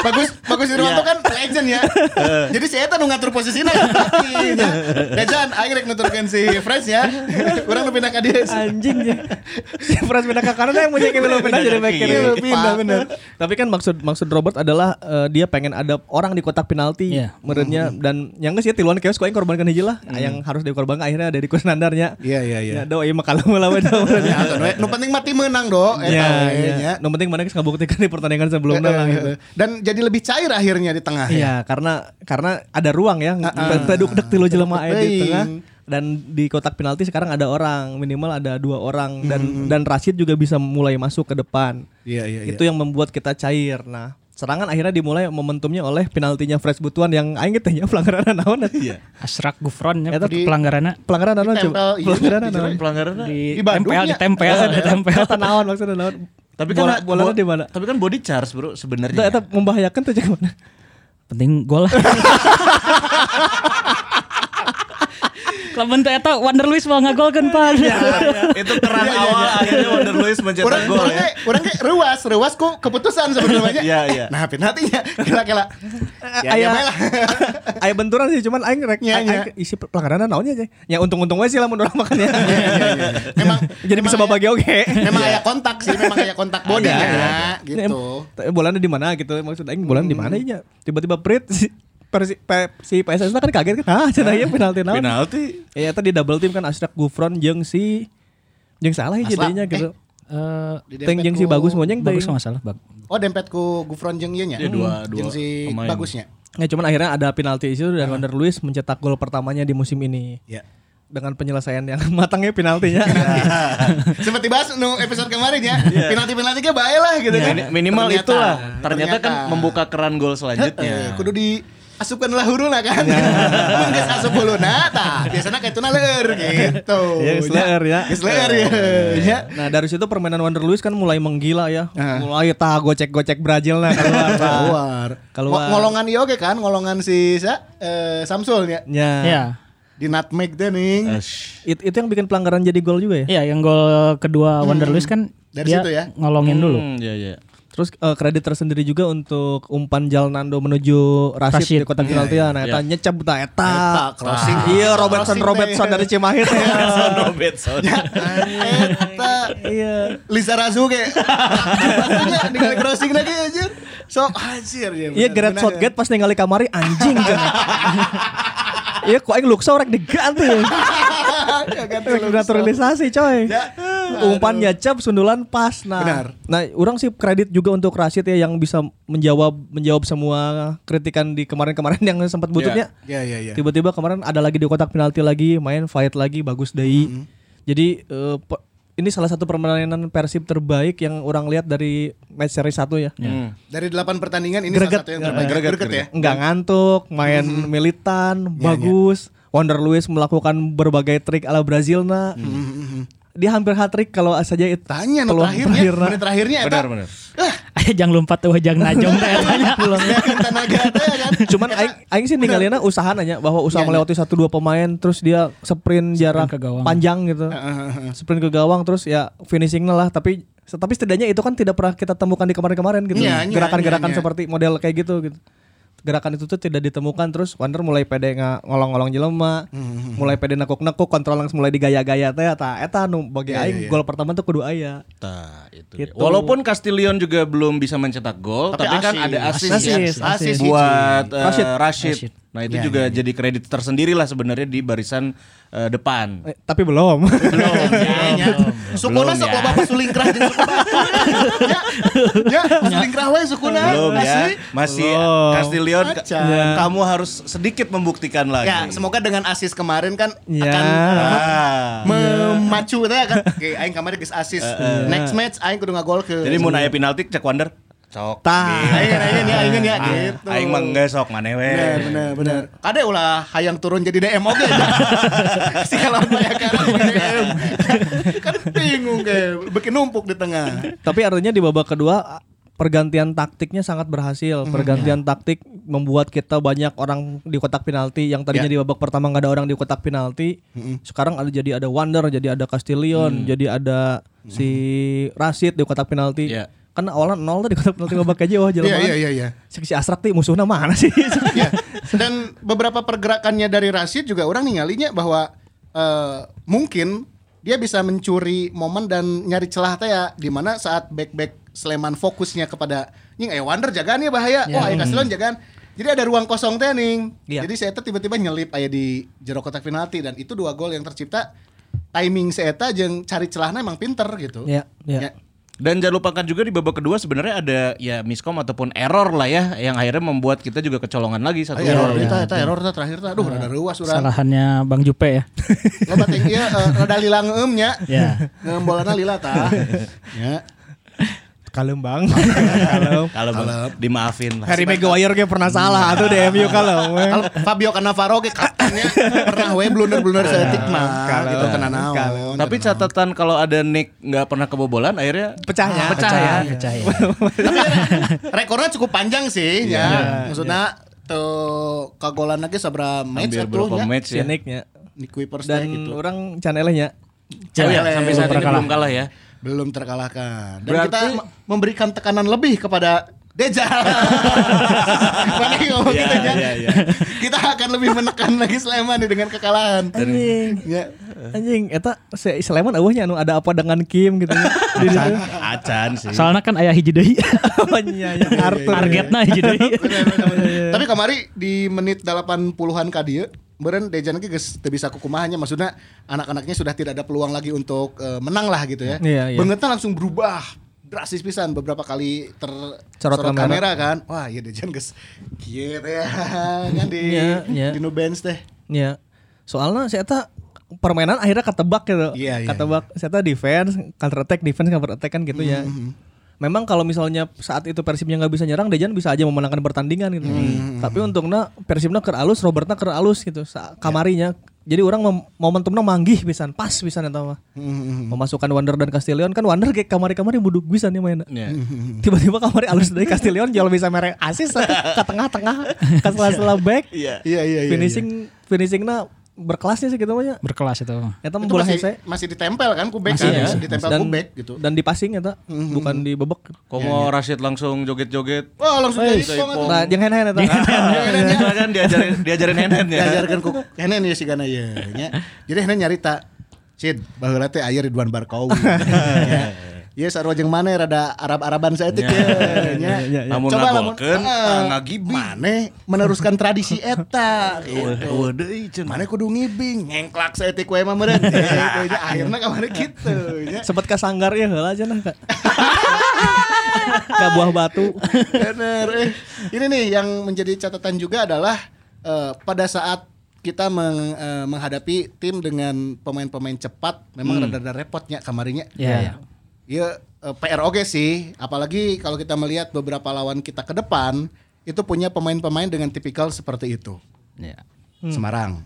S4: bagus bagus Irwanto kan legend ya. Jadi si Eta nu ngatur posisinya kan kaki. Dejan aing Ya, rek nuturkeun si Fresh ya. Urang nu pindah ka dieu.
S2: Anjing. Si Freds pindah ke kanan yang Munyeng belum pindah jadi back kiri.
S4: Iya, pindah, bener.
S2: Tapi kan maksud maksud Robert adalah eh, dia pengen ada orang di kotak penalti
S5: Iya.
S2: menurutnya dan yang nggak sih tiluan chaos kau yang korbankan hiji lah yang harus dikorbankan akhirnya dari Kusnandarnya.
S4: Iya iya iya.
S2: Ya, do ieu mah kalau melawan
S4: Ya, atuh, we. Nu penting mati menang do. Eta
S2: Ya,
S4: we,
S2: ya.
S4: nya.
S2: No penting mana geus ngabuktikan di pertandingan sebelumnya lah gitu.
S4: Dan jadi lebih cair akhirnya di tengah. ya.
S2: Iya, karena karena ada ruang ya.
S4: Ah,
S2: Taduk dek tilu jelema aya di
S4: Teuing.
S2: tengah dan di kotak penalti sekarang ada orang, minimal ada dua orang dan dan Rashid juga bisa mulai masuk ke depan.
S4: Hmm, Iya iya iya.
S2: Itu yang membuat kita cair. Nah, serangan akhirnya dimulai momentumnya oleh penaltinya Fresh Butuan yang aing teh nya pelanggaran naon Iya.
S5: Asrak Gufron ya
S2: Eta
S5: di, pelanggarannya
S2: Pelanggaran naon coba?
S4: Ditempel, iya,
S2: Pelanggaran naon?
S3: Pelanggaran.
S5: di,
S4: Di Bandung
S5: tempel,
S4: ya?
S5: ditempel,
S2: Iya.
S5: ditempel.
S2: Eta naon maksudnya naon?
S3: Tapi
S2: bola,
S3: kan
S2: bolanya
S3: bo-
S2: di mana?
S3: Tapi kan body charge, Bro,
S2: Itu
S3: sebenarnya.
S2: eta
S4: Iya.
S2: membahayakan tuh jeung mana?
S5: Penting gol lah. Lamun teu eta Wander Luis mau kan, ngagolkeun pan.
S3: itu keran awal akhirnya Wonder Luis mencetak
S4: Orang
S3: gol
S4: orang
S3: ya.
S4: kayak orang kayak ruas, ruas ku keputusan sebenarnya.
S3: Iya, iya.
S4: Nah, penaltinya kira-kira. Ya,
S2: Aya-
S4: ya baiklah.
S2: aya benturan sih cuman aing rek
S4: Nya,
S2: aing-
S4: nya.
S2: aing isi pelanggaran naonnya aja. Ya untung-untung we sih lamun urang makan ya.
S4: iya, Memang
S2: Jadi bisa
S4: memang
S2: babage oge.
S4: aya- Memang aya kontak sih, memang aya kontak body
S3: Iya. Ada, ada.
S4: ya, gitu.
S2: Tapi bolanya di mana gitu maksud aing bolan di mana nya? Tiba-tiba Prit si Persi- Pe- si PSS kan kaget kan. Ah, cenah ieu penalti naon.
S3: Penalti.
S2: Ya tadi double team kan Ashraf Gufron jeung si jeung salah
S4: Ashraf,
S2: jadinya
S4: eh.
S2: gitu.
S5: Eh,
S4: Di
S2: Teng jeung si
S4: dempetku-
S2: bagus monyeng
S5: bagus
S2: teuing.
S5: nggak salah bag.
S4: Oh, dempetku Gufron jeung ieu nya.
S3: Ya, dua- dua
S4: Jeung Hmm, si
S3: pemain.
S4: bagusnya.
S2: Ya cuman akhirnya ada penalti itu dan Wander Luiz mencetak gol pertamanya di musim ini.
S4: Ya.
S2: Dengan penyelesaian yang matangnya penaltinya.
S4: Iya. Seperti bahas nu episode kemarin ya. Penalti-penalti ge bae lah gitu kan.
S3: Mini- Iya. Minimal
S4: Ternyata-
S3: itulah. Ternyata, kan membuka keran gol
S4: Eh,
S3: selanjutnya.
S4: kudu di asupkan lah huru lah kan
S2: Ya.
S4: Mun geus asup hulu nah tah biasanya kayak tuna leur gitu
S2: Iya, geus leur ya.
S4: Geus leur ya ya
S2: nah dari situ permainan Wander Luiz kan mulai menggila ya.
S4: Ah.
S2: Mulai tah gocek-gocek Brazil nah keluar. tah.
S4: keluar
S2: Keluar.
S4: Ngo- ngolongan ieu oge kan ngolongan si sa, eh, Samsul ya
S2: Ya.
S5: Iya.
S4: di nutmeg teh ning
S3: Ash.
S2: It- itu yang bikin pelanggaran jadi gol juga ya.
S5: Iya, yang gol kedua Wanderlust kan
S4: Dari
S5: dia
S4: situ ya.
S5: ngolongin dulu.
S3: Hmm, iya, iya.
S2: Terus eh, kredit tersendiri juga untuk umpan Jalnando menuju Rashid,
S5: Rashid. iya.
S2: di kotak penalti. Nah, eta nyecep tah eta.
S4: Iya, Eta, crossing.
S2: Iya, Robertson
S4: Crossing,
S2: Robertson
S4: teh. Iya.
S2: dari Cimahi. teh.
S4: Eta
S2: Iya.
S4: Lisa Razuke Jumlahnya dengan crossing lagi aja Sok anjir ya
S2: Iya Gareth Southgate pas ningali kamari anjing cenah. Iya kok aing luksa rek diganti. ya? Rek Naturalisasi coy.
S4: Kan Ya,
S2: Umpan nyacap sundulan pas nah.
S4: Benar.
S2: Nah, orang sih kredit juga untuk Rashid ya yang bisa menjawab menjawab semua kritikan di kemarin-kemarin yang sempat bututnya.
S4: Ya ya ya
S2: Tiba-tiba kemarin ada lagi di kotak penalti lagi, main fight lagi bagus dei.
S4: Mm-hmm.
S2: Jadi eh, pe- ini salah satu permainan Persib terbaik yang orang lihat dari match seri 1 ya.
S3: Hmm.
S4: Dari delapan pertandingan ini
S2: Greget.
S4: salah satu yang terbaik
S3: Greget,
S4: Greget ya
S2: nggak ngantuk, main militan, bagus. Wonder Luis melakukan berbagai trik ala Brazilna. Dia hampir hat trick kalau saja itu
S4: Tanya nu terakhirnya, menit terakhirnya eta.
S3: Benar, benar.
S5: Aya jang lompat tuh jang najong teh tanya.
S4: Sedangkan tenaga teh kan.
S2: Cuman aing aing sih ninggalinna usaha nanya bahwa
S4: Iya,
S2: usaha melewati satu dua pemain terus dia sprint jarak
S5: ke gawang.
S2: panjang gitu. Sprint ke gawang terus ya finishingnya lah tapi tapi setidaknya itu kan tidak pernah kita temukan di kemarin-kemarin gitu.
S4: Iya, iya,
S2: Gerakan-gerakan
S4: iya, iya.
S2: seperti model kayak gitu gitu. Gerakan itu tuh tidak ditemukan terus Wander mulai pede nga- ngolong-ngolong jelema,
S4: Hmm,
S2: mulai pede nekuk-nekuk, kontrol langsung mulai digaya-gaya teh eta eta nu bagi
S4: Iya,
S2: aing gol pertama tuh kudu aya.
S3: Tah, itu dia.
S2: Gitu.
S3: Walaupun Castillion juga belum bisa mencetak gol, tapi,
S4: Tapi
S3: kan
S4: asis.
S3: ada asis,
S2: Asis,
S3: ya.
S4: asis.
S3: buat eh,
S2: Rashid. Ya,
S3: Rashid. Nah itu juga jadi kredit tersendiri lah sebenarnya di barisan eh, depan.
S2: Eh, tapi belum.
S4: Sukuna
S3: Belum,
S4: sok
S3: ya.
S4: loba pasulingkrah jeung suku batu. Ya, ya, pasulingkrah we sukuna.
S3: Belum ya,
S4: Asli.
S3: masih Castillion. ka-
S4: Acan.
S2: Ya.
S3: Kamu harus sedikit membuktikan lagi.
S4: Ya, semoga dengan asis kemarin kan
S2: Ya.
S4: akan
S3: Ah.
S4: memacu teh kan. Oke, aing kemarin geus asis. Next match aing kudu ngagol ke.
S3: Jadi mau naya penalti cek Wander. Cok.
S2: Tah.
S4: aing aing ya, aing ya
S3: Ah,
S4: gitu.
S3: Aing mah ngesok mana we.
S4: Bener, bener, bener. Kade ulah hayang turun jadi DM oke. si kalau bayangkan jadi DM. kan bingung kayak bikin numpuk di tengah.
S2: Tapi artinya di babak kedua pergantian taktiknya sangat berhasil.
S4: Mhm.
S2: Pergantian
S4: Ya.
S2: taktik membuat kita banyak orang di kotak penalti yang
S4: Ya.
S2: tadinya di babak pertama nggak ada orang di kotak penalti.
S4: Mhm.
S2: Sekarang ada jadi ada Wander, jadi ada Castillion, jadi ada
S4: Mhm.
S2: si Rashid di kotak penalti.
S3: Iya.
S2: Kan awalnya nol tuh di kotak penalti babak aja wah jalan.
S4: Ya. Iya, iya, iya, iya.
S2: Si, si Asrak tuh musuhnya mana sih?
S4: ya. Dan beberapa pergerakannya dari Rashid juga orang ningalinya bahwa eh, mungkin dia bisa mencuri momen dan nyari celah teh ya di mana saat back-back Sleman fokusnya kepada nying eh Wander jagaan ya Ya. bahaya. Wah, ayo Castellon jagaan. Jadi ada ruang kosong teh ning.
S2: Iya.
S4: Jadi saya tiba-tiba nyelip aya di jero kotak penalti dan itu dua gol yang tercipta timing saya jeung cari celahnya emang pinter gitu.
S2: Iya, iya.
S4: Ya.
S3: Dan jangan lupakan juga di babak kedua sebenarnya ada ya miskom ataupun error lah ya yang akhirnya membuat kita juga kecolongan lagi satu
S4: Ay, Oh, iya, error
S3: gol.
S4: eta eta error teh terakhir teh aduh rada reuas urang.
S5: Kesalahannya Bang Jupe ya.
S4: Lo batik iya eh, rada lilang eumnya.
S3: Iya.
S5: Ya.
S4: Ngembolana lila tah. ya.
S2: Kalem bang. Kalem.
S3: Kalau mau dimaafin lah.
S2: Harry Maguire kayak pernah salah tuh di MU kalau.
S4: Kalau Fabio Cannavaro ge kaptennya pernah we blunder-blunder seetik mah gitu kena naon.
S3: Tapi catatan kalau ada Nick nggak pernah kebobolan akhirnya
S2: Pecahnya.
S3: pecah ya.
S5: Pecah ya.
S4: Tapi rekornya cukup panjang
S3: Iya.
S4: sih ya. Maksudnya tuh kagolan lagi sabra match
S3: Ambil
S4: atuh
S3: beberapa
S4: ya.
S3: match ya.
S2: Siniknya.
S4: Nick Kuipers
S2: Dan
S4: teh gitu.
S2: orang channelnya.
S3: Oh iya,
S4: Cewek.
S3: sampai saat ini belum kalah ya.
S4: Belum terkalahkan. Dan
S3: Berarti-
S4: kita m- memberikan tekanan lebih kepada Deja. Mana yang ngomong
S3: Iya,
S4: kita, Jan?
S3: iya, iya.
S4: Kita akan lebih menekan lagi Sleman nih dengan kekalahan.
S2: Anjing.
S4: Ya.
S2: Anjing eta si Sleman eueuhnya anu ada apa dengan Kim gitu. Di situ.
S3: Acan sih.
S5: Soalnya kan ayah hiji deui.
S4: Iya,
S2: Nya yang Arthur.
S5: Targetna hiji deui.
S4: Tapi kamari di menit 80-an ka dieu Beren Dejan ge geus teu bisa kukumahanya maksudnya anak-anaknya sudah tidak ada peluang lagi untuk eh, menang lah gitu ya.
S2: Iya, iya.
S4: Bangetnya langsung berubah drastis pisan beberapa kali tercorot
S2: Corot kamera.
S4: kamera. kan. Wah, ya Dejan geus kieu teh kan di
S2: Iya, iya.
S4: di no bands teh.
S2: Iya. Soalnya si eta permainan akhirnya ketebak gitu.
S4: Iya, iya,
S2: ketebak. Si eta defense, counter attack, defense, counter attack kan gitu ya.
S4: Mm-hmm,
S2: Memang kalau misalnya saat itu Persibnya nggak bisa nyerang, Dejan bisa aja memenangkan pertandingan gitu.
S4: Mm-hmm,
S2: Tapi untungnya Persibnya ker alus, Robertna ker alus gitu. sa-
S4: Iya.
S2: Kamarinya. Jadi orang mem- momentumnya manggih pisan, pas pisan eta mah.
S4: Mm-hmm,
S2: Memasukkan Wander dan Castillion kan Wander kayak kamari-kamari buduk pisan nih mainnya.
S3: Iya.
S2: Tiba-tiba kamari alus dari Castillion jual bisa merek asis ke tengah-tengah, ke sela-sela back
S3: Iya.
S4: Iya, iya, iya.
S2: finishing finishingnya berkelasnya sih gitu banyak.
S5: Berkelas itu.
S2: Eta
S4: Itu
S2: bola
S4: masih,
S2: hese.
S4: masih ditempel kan kubek
S2: Masih
S4: kan,
S2: ya.
S4: ditempel
S2: dan,
S4: kubek gitu. Hmm.
S2: Dan di passing eta, bukan di bebek.
S3: Komo Rashid langsung joget-joget.
S4: Wah, langsung jadi
S3: Ipong.
S2: Nah, yang hand-hand eta.
S3: Itu kan diajarin diajarin ya. handhandnya.
S4: diajarkan ku henen ya si kana ya nya. Jadi henen nyarita Sid, baheula teh aya Ridwan Barkawi. Ya. Ya sarua jeung mana rada Arab-araban saya teh nya.
S2: ya, ya.
S3: Lamun ngagolkeun,
S4: heeh,
S3: ngagibing.
S4: Mane Ah, meneruskan tradisi eta. Gitu.
S3: Eueuh deui cenah.
S4: Mane kudu ngibing, ngengklak saya teh ku emang meureun. Ya, gitu. Akhirna kamari kitu nya.
S2: Sempat ke sanggar ya heula aja nah. Kak. Ke buah batu.
S4: Bener. Eh, Ini nih yang menjadi catatan juga adalah eh, pada saat kita meng- eh, menghadapi tim dengan pemain-pemain cepat
S3: Hmm.
S4: memang rada-rada repotnya kamarinya.
S5: Iya.
S4: Iya eh, PR oke sih, apalagi kalau kita melihat beberapa lawan kita ke depan itu punya pemain-pemain dengan tipikal seperti itu. Hmm.
S5: Iya.
S4: Semarang.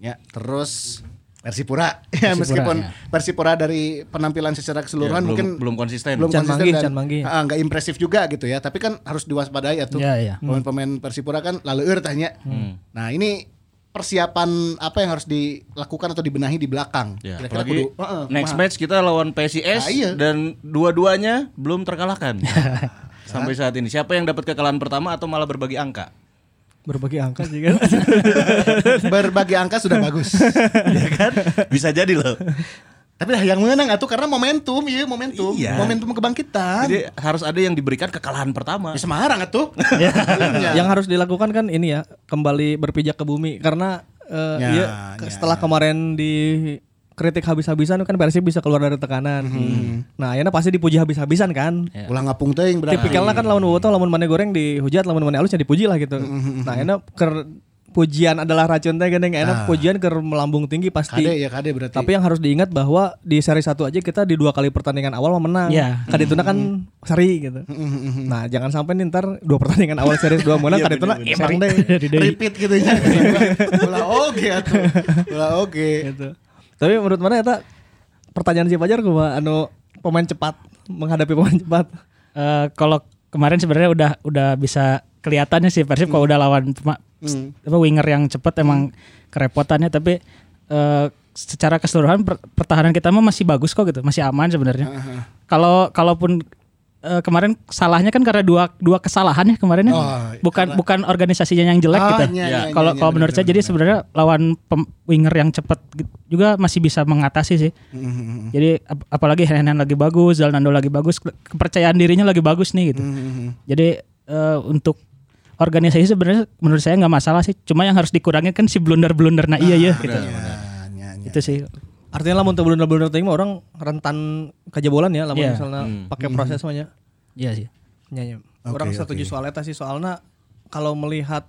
S4: Ya, terus Persipura. Ya, meskipun
S5: ya.
S4: Persipura dari penampilan secara keseluruhan
S3: Ya, belum-
S4: mungkin
S3: belum konsisten.
S4: Belum
S2: Can
S4: konsisten
S2: manggih,
S4: dan
S2: can manggih.
S4: ah, nggak impresif juga gitu ya. Tapi kan harus diwaspadai ya tuh.
S5: Ya, ya.
S4: Pemain-pemain Persipura kan lalu tanya. Nah, ini persiapan apa yang harus dilakukan atau dibenahi di belakang?
S3: Ya,
S4: Kira-kira
S3: apalagi
S4: kudu, uh-uh, heeh,
S3: next
S4: kumaha.
S3: match kita lawan PSIS
S4: Ah, iya.
S3: dan dua-duanya belum terkalahkan sampai saat ini. Siapa yang dapat kekalahan pertama atau malah berbagi angka?
S2: Berbagi angka gitu. juga.
S4: berbagi angka sudah bagus.
S3: ya kan? Bisa jadi loh.
S4: Tapi lah yang menang atuh karena momentum, iya momentum,
S3: Iya.
S4: momentum kebangkitan.
S3: Jadi harus ada yang diberikan kekalahan pertama.
S4: Ya, Semarang atuh. Iya.
S2: yang harus dilakukan kan ini ya, kembali berpijak ke bumi karena eh,
S4: Ya,
S2: iya, ke- setelah kemarin di kritik habis-habisan kan Persib bisa keluar dari tekanan.
S4: Mhm.
S2: Nah, ayeuna pasti dipuji habis-habisan kan.
S4: Ulah ngapung teuing berarti.
S2: Tipikalnya kan lawan bobotoh, lawan mana goreng dihujat, lawan mana halusnya dipuji lah
S4: Mhm,
S2: gitu. Nah, enak ker pujian adalah racun teh gini,
S4: Nah.
S2: enak pujian ker melambung tinggi pasti.
S4: Kade ya kade berarti.
S2: Tapi yang harus diingat bahwa di seri satu aja kita di dua kali pertandingan awal mah menang.
S5: Iya.
S2: Kadituna kan seri gitu. Nah, jangan sampai nih ntar dua pertandingan awal seri dua menang kadituna emang deh.
S5: Dari deui.
S4: repeat gitu ya. Ulah oke atuh. Ulah oke.
S2: Gitu. Tapi menurut mana eta pertanyaan si Fajar gua anu pemain cepat menghadapi pemain cepat.
S5: Eh, kalau kemarin sebenarnya udah udah bisa kelihatannya sih Persib kalau udah lawan pema- apa winger yang cepat emang kerepotannya tapi eh, secara keseluruhan per- pertahanan kita mah masih bagus kok gitu, masih aman sebenarnya. Kalau kalaupun eh, kemarin salahnya kan karena dua dua kesalahan ya kemarin ya. bukan bukan organisasinya yang jelek
S4: Ah,
S5: gitu.
S4: iya, iya, iya,
S5: Kalau
S4: iya,
S5: kalau menurut saya jadi sebenarnya lawan pem- winger yang cepat gi- juga masih bisa mengatasi sih.
S4: Mm-hmm.
S5: Jadi ap- apalagi Henan lagi bagus, Zalnando lagi bagus, ke- kepercayaan dirinya lagi bagus nih gitu.
S4: Mm-hmm.
S5: Jadi eh, untuk organisasi sebenarnya menurut saya nggak masalah sih. Cuma yang harus dikurangi kan si blunder-blunder nah iya ya gitu.
S4: Nah, nya, nya.
S5: Itu sih.
S2: Artinya lamun teu blunder-blunder teuing mah orang rentan kejebolan ya lamun
S5: Iya.
S2: misalnya pakai proses mah nya.
S5: Iya sih.
S2: Ya, ya. Orang setuju soal eta sih soalnya kalau melihat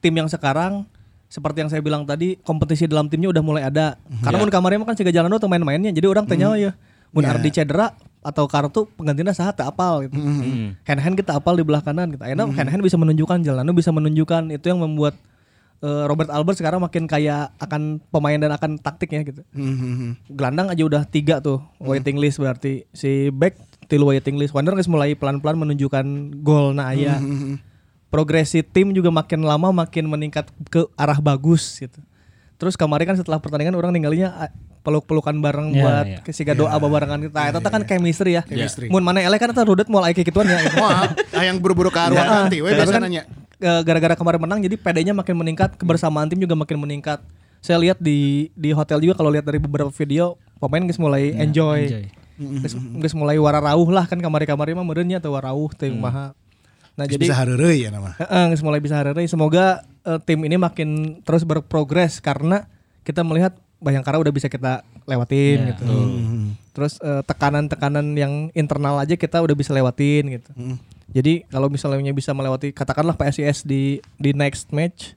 S2: tim yang sekarang seperti yang saya bilang tadi kompetisi dalam timnya udah mulai ada. Karena mun kemarin mah kan siga jalan tuh main-mainnya. Jadi orang tanya ya, mun Ardi cedera atau kartu penggantinya saha teu apal gitu.
S5: Mhm.
S2: Hand hand kita apal di belah kanan gitu. Akhirnya hand hand bisa menunjukkan Jalano bisa menunjukkan itu yang membuat eh, Robert Albert sekarang makin kaya akan pemain dan akan taktiknya gitu. Gelandang aja udah tiga tuh waiting list berarti si back tilu waiting list. Wander guys mulai pelan-pelan menunjukkan gol nah aya. Progresi tim juga makin lama makin meningkat ke arah bagus gitu. Terus kemarin kan setelah pertandingan orang ninggalinya ah, peluk-pelukan bareng
S5: Ya,
S2: buat
S5: ya.
S2: ke siga doa babarengan kita. Eta kan chemistry ya.
S4: Chemistry.
S2: Mun mana elek kan eta rudet moal aya kikituan ya.
S4: Wah, yang buru-buru ke arwah
S2: Ah,
S4: nanti, we
S2: tapi
S4: biasa
S2: kan,
S4: nanya.
S2: eh, gara-gara kemarin menang jadi PD-nya makin meningkat, kebersamaan tim juga makin meningkat. Saya lihat di di hotel juga kalau lihat dari beberapa video pemain geus mulai enjoy.
S5: enjoy.
S2: Geus geus mulai wararauh lah kan kamari-kamari mah meureunnya teu warauh teu maha. Nah,
S4: Jadi bisa hareureuy ya nama.
S2: Heeh, geus mulai bisa hari Semoga eh, tim ini makin terus berprogres karena kita melihat Bayangkara udah bisa kita
S5: Iya,
S2: lewatin gitu. Terus eh, tekanan-tekanan yang internal aja kita udah bisa lewatin gitu.
S5: Hmm.
S2: Jadi kalau misalnya bisa melewati katakanlah PSIS di di next match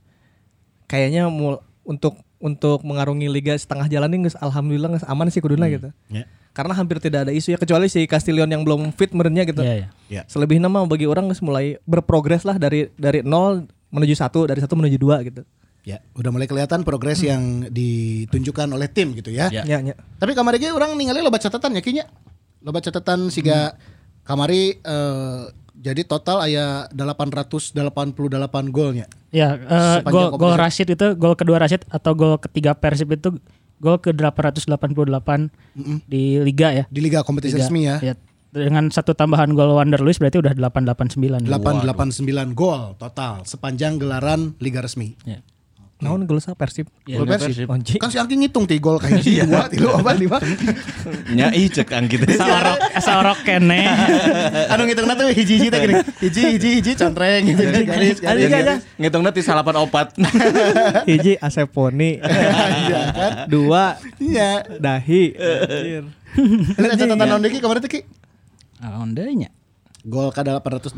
S2: kayaknya mul- untuk untuk mengarungi liga setengah jalan ini geus alhamdulillah geus aman sih kuduna
S5: Hmm.
S2: gitu.
S4: Ya.
S2: Karena hampir tidak ada isu ya kecuali si Castillion yang belum fit merenya gitu.
S5: Iya, iya.
S4: Ya.
S2: Selebihnya mah bagi orang geus mulai berprogres lah dari dari nol menuju satu, dari satu menuju dua gitu.
S4: Ya, udah mulai kelihatan progres yang ditunjukkan oleh tim gitu ya.
S3: Ya.
S2: Ya, ya.
S4: Tapi kamari ge urang ningali loba catatan ya kinya. Loba catatan siga kamari eh, jadi total aya 888 golnya.
S5: Ya, eh,
S4: Sepanjang
S5: gol gol
S4: kompetisi.
S5: Rashid itu gol kedua Rashid atau gol ketiga Persib itu gol ke 888
S4: Mm-hmm.
S5: di liga ya.
S4: di liga kompetisi
S5: Liga.
S4: resmi ya.
S5: Iya. Dengan satu tambahan gol Wander Luiz berarti udah 889.
S4: 889 gol total sepanjang gelaran liga resmi.
S5: Ya.
S2: Naon geus ah, Persib.
S4: Gol Persib.
S2: Onci.
S4: Kan si Angki ngitung ti gol kayak hiji, dua, tilu, apa lima. Iya.
S3: Nyai ya, iya, cek gitu. angkit.
S5: Saorok saorok kene.
S4: Anu ngitungna tuh hiji-hiji teh gini. Hiji hiji hiji contreng
S3: Iya,
S4: gitu garis garis. garis.
S3: Ngitung nanti salapan opat.
S2: Hiji Aseponi.
S4: Iya kan?
S2: Dua
S4: Iya.
S2: Dahi. Anjir.
S4: Ini catatan naon deui Ki, kemarin teh Ki?
S5: Ondenya.
S4: Gol ke 888.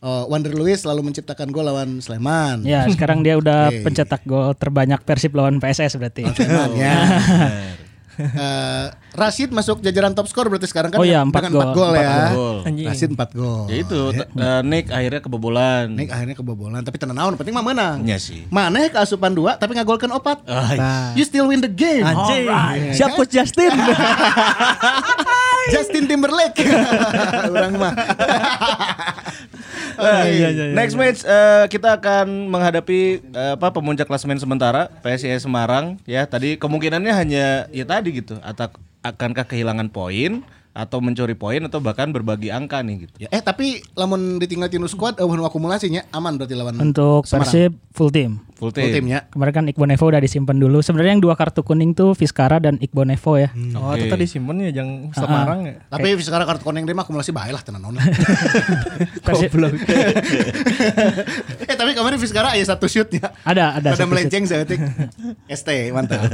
S4: Eh, Wander Luiz selalu menciptakan gol lawan Sleman.
S5: Ya, sekarang dia udah
S4: Oke.
S5: pencetak gol terbanyak Persib lawan PSS berarti.
S4: Sleman ya. Eh, Rashid masuk jajaran top skor berarti sekarang kan
S5: Oh iya,
S4: dengan
S5: empat
S4: empat
S5: gol,
S4: gol
S5: empat
S4: ya.
S3: gol.
S2: Anjing.
S4: Rashid 4 gol.
S3: Ya itu t- eh, Nick akhirnya kebobolan.
S4: Nek akhirnya kebobolan tapi tenang naon penting mah menang.
S3: Iya sih.
S4: Maneh keasupan dua tapi ngagolkan opat. Nah,
S3: Ah,
S4: You still win the game.
S2: Anjing.
S4: Alright.
S2: Siap Coach Justin.
S4: Justin Timberlake. Orang mah.
S3: Nah,
S4: Oke.
S3: Next match eh, kita akan menghadapi eh, apa pemuncak klasemen sementara PSIS Semarang ya. Tadi kemungkinannya hanya ya tadi gitu atau akankah kehilangan poin atau mencuri poin atau bahkan berbagi angka nih
S4: Ya,
S3: gitu.
S4: Eh tapi lamun ditinggal tinu squad eh uh, akumulasinya aman berarti lawan
S5: Untuk Persib full team.
S3: Full
S4: full
S3: team.
S4: timnya.
S5: Kemarin kan Iqbal Nevo udah disimpan dulu. Sebenarnya yang dua kartu kuning tuh Vizcara dan Iqbal Nevo ya.
S2: Oh, itu tadi simpen ya jang Semarang ya.
S4: Tapi
S5: Eh.
S4: sekarang kartu kuning dia mah akumulasi bae lah tenan naon.
S5: Persib-
S4: eh tapi kemarin Fiskara aya satu shootnya.
S5: Ada, ada
S4: Sudah
S5: satu
S4: melenceng seetik. ST mantap.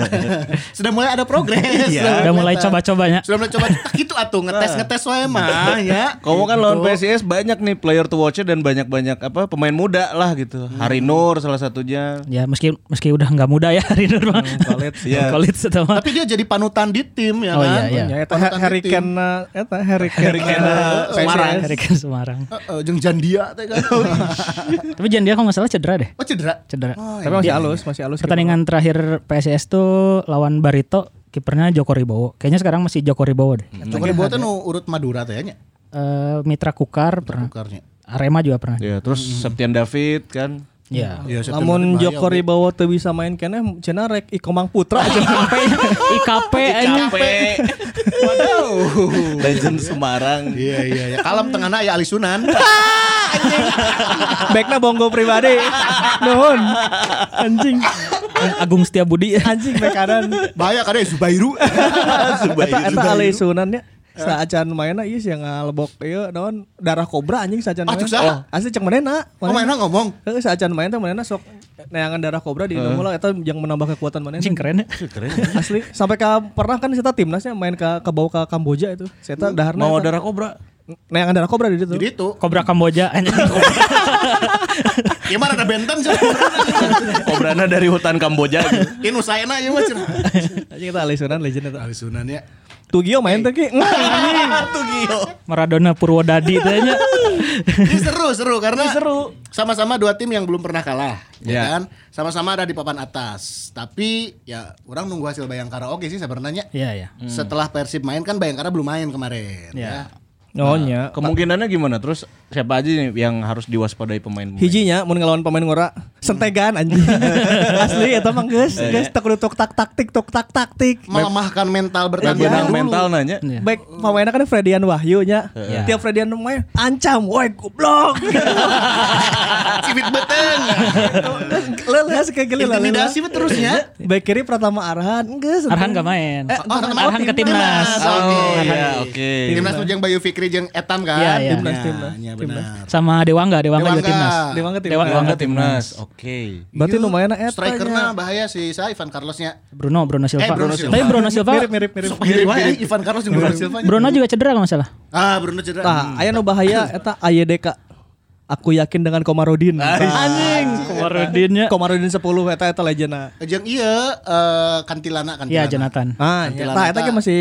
S4: Sudah mulai ada progres.
S2: Iya.
S4: Sudah
S5: Udah mulai
S4: kelihatan.
S5: coba-cobanya.
S4: Sudah mulai coba tak itu atuh ngetes
S2: Ah.
S4: ngetes wae mah ya.
S3: Kamu kan lawan PSIS banyak nih player to watch dan banyak-banyak apa pemain muda lah gitu. Hari Nur salah satunya.
S5: Ya meski meski udah nggak muda ya hari Nur mah.
S2: College,
S3: ya.
S5: College atau mah.
S4: Tapi dia jadi panutan di tim ya
S5: Oh,
S4: kan.
S5: iya,
S2: Ya, eta
S4: Panutan di
S2: Harry
S4: tim. eh,
S2: Kane eta eh, Harry Kane.
S3: Semarang.
S5: Hari kan Semarang.
S4: Heeh, jeung Jandia teh kan.
S2: Oh, iya.
S5: Tapi jangan dia kalau nggak salah cedera deh.
S4: Oh cedera.
S5: Cedera.
S2: Tapi
S4: Oh,
S2: masih
S4: iya.
S2: halus, masih halus.
S5: Pertandingan terakhir PSS tuh lawan Barito kipernya Joko Ribowo. Kayaknya sekarang masih Joko Ribowo deh.
S4: Cukup dibuat nu urut Madura teh nya.
S5: Eh, Mitra Kukar pernah.
S4: Tukarnya.
S5: Arema juga pernah.
S3: Ya, terus Septian David kan.
S5: Ya.
S4: Iya, September
S2: Namun
S4: bahaya,
S2: Joko Ribowo teu bisa main kene cenah rek Ikomang Putra.
S5: IKP
S3: Eh,
S5: anjing.
S3: Capek. Waduh. Legend
S4: Bu.
S3: Semarang.
S4: Iya iya iya. Kalem tengahna aya Ali Sunan.
S2: Backnya bonggo pribadi. Nuhun. Anjing.
S5: Agung Setia Budi.
S2: Anjing back kanan.
S4: Bahaya kada Zubairu.
S2: Eta eta ali sunannya. Saacan mainna ieu sih ngalebok ieu naon darah kobra anjing saacan main.
S4: Ah, cek saha?
S2: Asli cek manena.
S4: Oh mainan ngomong.
S2: Heeh saacan main teh manena sok neangan darah kobra di Indomaret eta yang menambah kekuatan manena.
S5: Anjing keren ya.
S2: Asli sampai ke pernah kan kita timnasnya main ke ke bawah ke Kamboja itu. Saya daharna.
S3: Mau
S2: eta.
S3: darah kobra.
S2: Neangan darah kobra di ditu.
S4: Jadi itu.
S5: Kobra Kamboja anjing.
S4: Ieu mah rada Ya, benten sih.
S3: Kobrana dari hutan Kamboja. gitu.
S4: Inu saena ieu mah cenah.
S2: Anjing kita Ali Sunan legend eta.
S4: Ali Sunan ya.
S2: Tugio main teh ki.
S4: Nah.
S2: Anjing.
S5: Maradona Purwodadi tanya.
S4: Ini seru seru karena seru. Sama-sama dua tim yang belum pernah kalah, ya
S3: Iya.
S4: kan? Sama-sama ada di papan atas. Tapi ya orang nunggu hasil Bayangkara oke sih sebenarnya.
S5: Iya ya.
S4: Setelah Persib main kan Bayangkara belum main kemarin.
S5: Ya.
S2: Oh nya.
S3: Kemungkinannya gimana? Terus siapa aja nih yang harus diwaspadai pemain?
S2: Hijinya mau ngelawan pemain ngora sentegan anjing. Asli eta mah geus geus teu kudu tok tak taktik tok tak taktik.
S4: melemahkan mental bertahan
S3: Benang
S4: dulu.
S3: mental nanya.
S5: Iya.
S2: Baik, pemainnya kan Fredian Wahyu nya. Tiap Fredian main ancam, woi goblok.
S4: Cibit beteng.
S2: Lelas kayak geli lah.
S4: Intimidasi
S2: lelas.
S4: we terusnya.
S2: Back kiri Pratama Arhan, enggak.
S5: Arhan gak main.
S2: Eh,
S4: Oh, Arhan
S5: Arhan ke timnas.
S4: Oh,
S3: Oh
S4: iya.
S3: iya, oke.
S4: Timnas Ujang Bayu Fikri jeung Etam kan.
S5: Iya, iya.
S2: Timnas,
S4: Ya,
S2: timnas,
S4: iya,
S2: timnas.
S4: benar.
S5: Sama Dewangga, Dewangga juga
S4: Dewangga.
S5: timnas.
S2: Dewa nggak tim?
S5: Dewa-
S3: Bangga timnas. Oke.
S2: Berarti
S4: Oh. Iya,
S2: lumayan eta.
S4: Strikernya
S2: nya.
S4: bahaya si Sa Ivan Carlosnya.
S5: Bruno, Bruno Silva.
S4: Eh, Bruno Silva.
S5: Tapi Bruno Silva,
S2: Mirip mirip mirip.
S4: Mirip wae Ivan Carlos jeung Bruno Silva.
S5: Bruno juga cedera kalau masalah.
S4: Ah, Bruno cedera.
S2: Nah, aya nu bahaya eta AYDK. Aku yakin dengan Komarudin.
S4: Nah,
S2: Anjing.
S5: Komarudinnya.
S2: Komarudin 10 eta eta legenda.
S4: Jeung ieu eh, Kantilana Kantilana.
S5: Iya, Jonathan.
S2: Ah,
S4: Nanti
S2: ya.
S4: lah,
S2: Tah, eta
S4: Pak.
S2: ge masih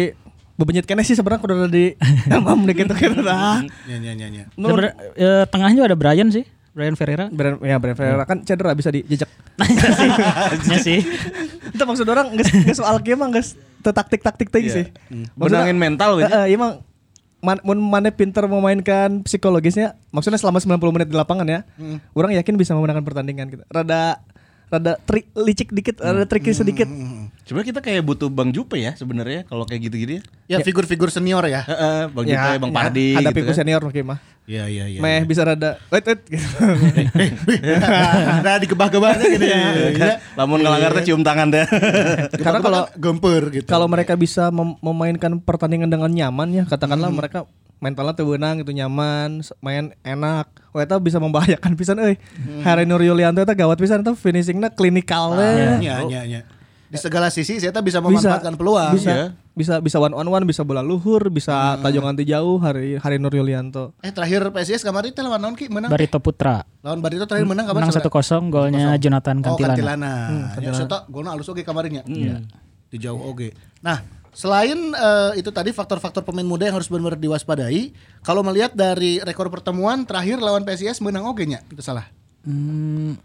S2: bebenyet kene sih sebenarnya kudu di emam dikit kitu tah.
S4: Nya nya nya nya.
S2: Nur-
S5: Sebener- eh, tengah juga ada Brian sih, Brian Ferreira.
S2: Brand ya brand Ferreira kan cedera bisa dijejak.
S5: Iya sih.
S2: Itu maksud orang geus geus soal game mah geus teu taktik-taktik teuing sih. Maksudnya-
S3: Benangin mental gitu.
S2: Heeh, iya mang Man, mun mana pinter memainkan psikologisnya, maksudnya selama 90 menit di lapangan ya,
S3: Hmm.
S2: orang yakin bisa memenangkan pertandingan gitu. Rada rada trik licik dikit, rada
S3: Hmm.
S2: tricky sedikit.
S3: Cuma kita kayak butuh Bang Jupe ya sebenarnya kalau kayak gitu-gitu
S4: Ya
S3: ya.
S4: figur-figur senior ya.
S3: Heeh, Bang Jupe, Bang Pardi
S2: Ya, hadapi
S3: gitu
S2: ku
S3: kan.
S2: senior mungkin mah.
S4: Iya iya iya.
S2: Meh bisa rada, wait wait. Gitu.
S4: Nah, dikebah-kebah gitu.
S3: Iya kan? Lamun ngelanggar teh cium tangan deh.
S2: Karena kalau
S4: gempur gitu.
S2: kalau mereka bisa mem- memainkan pertandingan dengan nyaman ya, katakanlah
S5: Hmm.
S2: mereka mentalnya tuh benang gitu nyaman, s- main enak. Wah eta bisa membahayakan pisan euy.
S5: Hmm.
S2: Hari Nur Yulianto eta gawat pisan eta finishingnya klinikal
S5: Ah,
S2: we.
S5: iya.
S4: Nya nya nya. Iya, Di segala sisi saya bisa
S2: bisa
S4: memanfaatkan peluang.
S2: Bisa,
S3: Iya.
S2: bisa, bisa one on one, bisa bola luhur,
S5: Ah.
S2: bisa tajong anti jauh. Hari Hari Nur Yulianto.
S4: Eh terakhir PSIS kemarin teh lawan naon ki menang?
S5: Barito Putra.
S4: Lawan Barito terakhir menang kapan? ya?
S5: Menang 1-0 golnya Jonathan
S4: Oh
S5: Kan Kantilana.
S4: Kantilana. Ya Soto golna alus oge kemarin ya. Di jauh oge. Nah, selain eh, itu tadi faktor-faktor pemain muda yang harus benar-benar diwaspadai, kalau melihat dari rekor pertemuan terakhir lawan PSIS menang oge nya, itu salah.
S5: Hmm,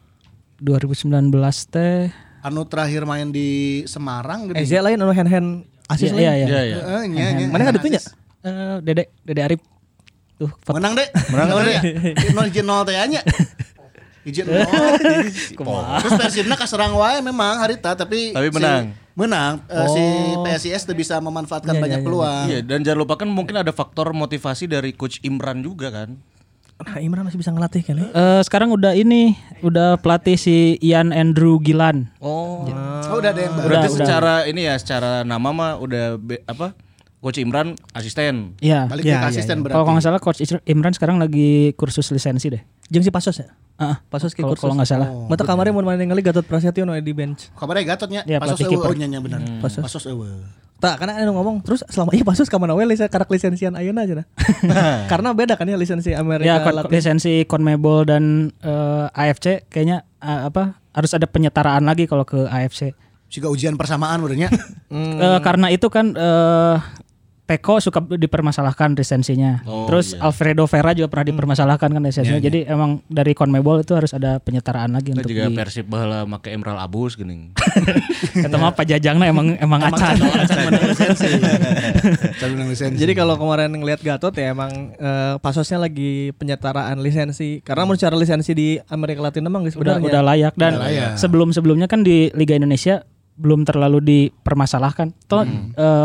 S5: 2019 teh.
S4: Anu terakhir main di Eh, Semarang
S2: Eh,
S4: gitu.
S2: Zia lain anu hand hand asis
S5: Iya,
S2: lain.
S5: iya, iya.
S3: Iya, iya.
S4: Heeh, nya, nya.
S2: Mana kan itunya?
S5: Eh, Dede, Dede Arif. Tuh, fuck.
S4: Menang deh. Menang deh. Nol izin nol teh nya. Izin nol. Terus Persibna kaserang wae memang harita tapi
S3: Tapi
S4: si-
S3: menang.
S4: menang Eh, si PSIS tuh bisa memanfaatkan banyak peluang.
S3: Iya, dan jangan lupakan mungkin ada faktor motivasi dari coach Imran juga kan.
S2: Nah, Imran masih bisa ngelatih ya? kali.
S5: Eh, sekarang udah ini, udah pelatih si Ian Andrew Gilan.
S3: Oh.
S4: Oh, udah ada yang baru.
S3: Berarti
S5: udah.
S3: secara ini ya secara nama mah udah be- apa? Coach Imran asisten.
S5: Iya.
S4: Balik
S2: Iya, iya,
S4: ke asisten
S5: Kalau
S4: berarti.
S5: nggak salah coach Isra- Imran sekarang lagi kursus lisensi deh.
S2: Jeung si Pasos ya?
S5: Ah,
S2: Pasos ke
S5: kalau
S2: kursus. Oh.
S5: kalau nggak salah.
S2: Mata kamarnya mau main ningali Gatot Prasetyo no di bench.
S4: Kabarnya gatotnya
S5: Iya,
S4: pasos
S5: pelatih
S4: eueuh
S5: kiper.
S4: oh, nya, nya, benar. Pasos. eueuh.
S2: Tak, karena anu ngomong terus selama ini Pasos ka mana we lisa karak lisensian ayeuna aja nah. karena beda kan ya lisensi
S5: Ya,
S2: Amerika
S5: kon-
S2: Latin.
S5: lisensi CONMEBOL dan eh, AFC kayaknya eh, apa? Harus ada penyetaraan lagi kalau ke AFC.
S4: Juga ujian persamaan urangnya.
S5: Eh, karena itu kan eh Teko suka dipermasalahkan lisensinya. Terus Alfredo Vera juga pernah dipermasalahkan kan lisensinya. Jadi emang dari CONMEBOL itu harus ada penyetaraan lagi
S3: Kita
S5: untuk
S3: juga
S5: di
S3: Persib baheula make Emral Abus geuning.
S5: Kata mah pajajangna emang emang acan.
S4: Calon yang lisensi.
S2: Jadi kalau kemarin ngelihat Gatot ya emang eh, Pasosnya lagi penyetaraan lisensi. Karena menurut cara lisensi di Amerika Latin emang geus
S5: udah
S2: bener
S5: udah layak dan
S4: Udah layak.
S5: sebelum-sebelumnya kan di Liga Indonesia belum terlalu dipermasalahkan. Toh eh,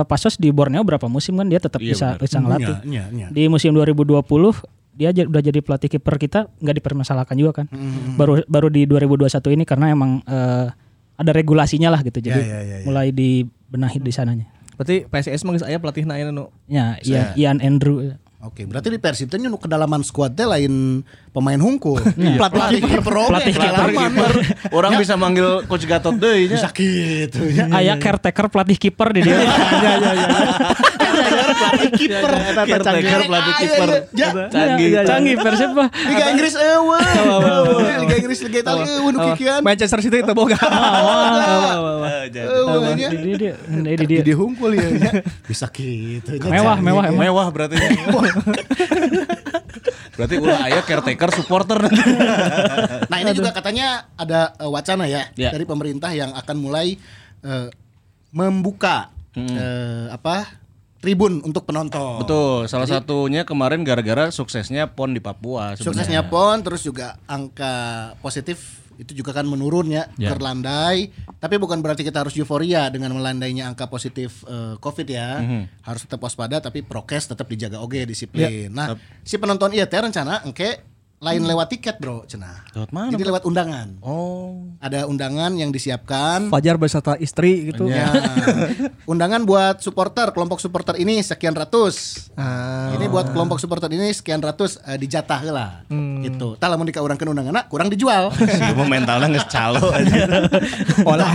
S5: Pasos di Borneo berapa musim kan dia tetap bisa bisa
S2: Iya.
S5: ngelatih.
S4: Nya, nya, nya.
S5: Di musim 2020 dia ja- udah jadi pelatih kiper kita nggak dipermasalahkan
S4: Hmm,
S5: juga kan. Baru baru di 2021 ini karena emang eh, ada regulasinya lah gitu.
S4: ya,
S5: Jadi
S4: ya, ya.
S5: mulai dibenahi di sananya.
S2: Berarti PSIS mah geus aya pelatihna ayeuna nu
S5: Ya, Ian, Ian Andrew.
S4: Oke, berarti di Persib teh nu kedalaman skuad teh lain pemain hungkul.
S2: Pelatih
S4: kiper oge,
S5: Pelatih kiper.
S4: kedalaman.
S3: Orang bisa manggil coach Gatot iya. deui nya.
S4: Sakit. ya.
S5: Ayah caretaker pelatih kiper di dia.
S4: Kiper, pelatih kiper.
S3: Iya, Caretaker pelatih kiper.
S4: Ya,
S5: iya.
S3: Canggih.
S5: Canggih Persib mah.
S4: Liga Inggris eueuh. Liga Inggris Liga Italia eueuh nu Eh,
S2: iya.
S4: kikian.
S2: Manchester City itu boga.
S4: Eueuh, nya.
S5: Di dia, di dia.
S4: Jadi hungkul ya. nya. Bisa gitu. nya.
S5: Mewah, mewah emang.
S3: Mewah berarti. berarti ulah aya caretaker supporter nanti.
S4: Nah ini juga katanya ada eh, wacana ya
S3: Ya.
S4: dari pemerintah yang akan mulai eh, membuka eh, apa tribun untuk penonton.
S3: Betul, salah satunya kemarin gara-gara suksesnya PON di Papua sebenarnya.
S4: Suksesnya PON terus juga angka positif itu juga kan menurun ya,
S6: Ya.
S4: berlandai. Tapi bukan berarti kita harus euforia dengan melandainya angka positif eh, COVID ya.
S3: Mhm.
S4: Harus tetap waspada, tapi prokes tetap dijaga oke
S3: Ya.
S4: disiplin. Nah, si penonton iya teh rencana engke lain lewat tiket bro, cenah.
S3: Lewat mana,
S4: Jadi lewat undangan.
S3: Oh.
S4: Ada undangan yang disiapkan.
S2: Fajar beserta istri gitu.
S4: Ya. undangan buat supporter, kelompok supporter ini sekian ratus.
S2: Nah. Oh.
S4: Ini buat kelompok supporter ini sekian ratus eh, dijatah lah.
S2: Hmm.
S4: Gitu. Tah lamun dikaurangkeun undangan kurang dijual.
S3: Siapa mentalnya nggak calo aja.
S2: Olah.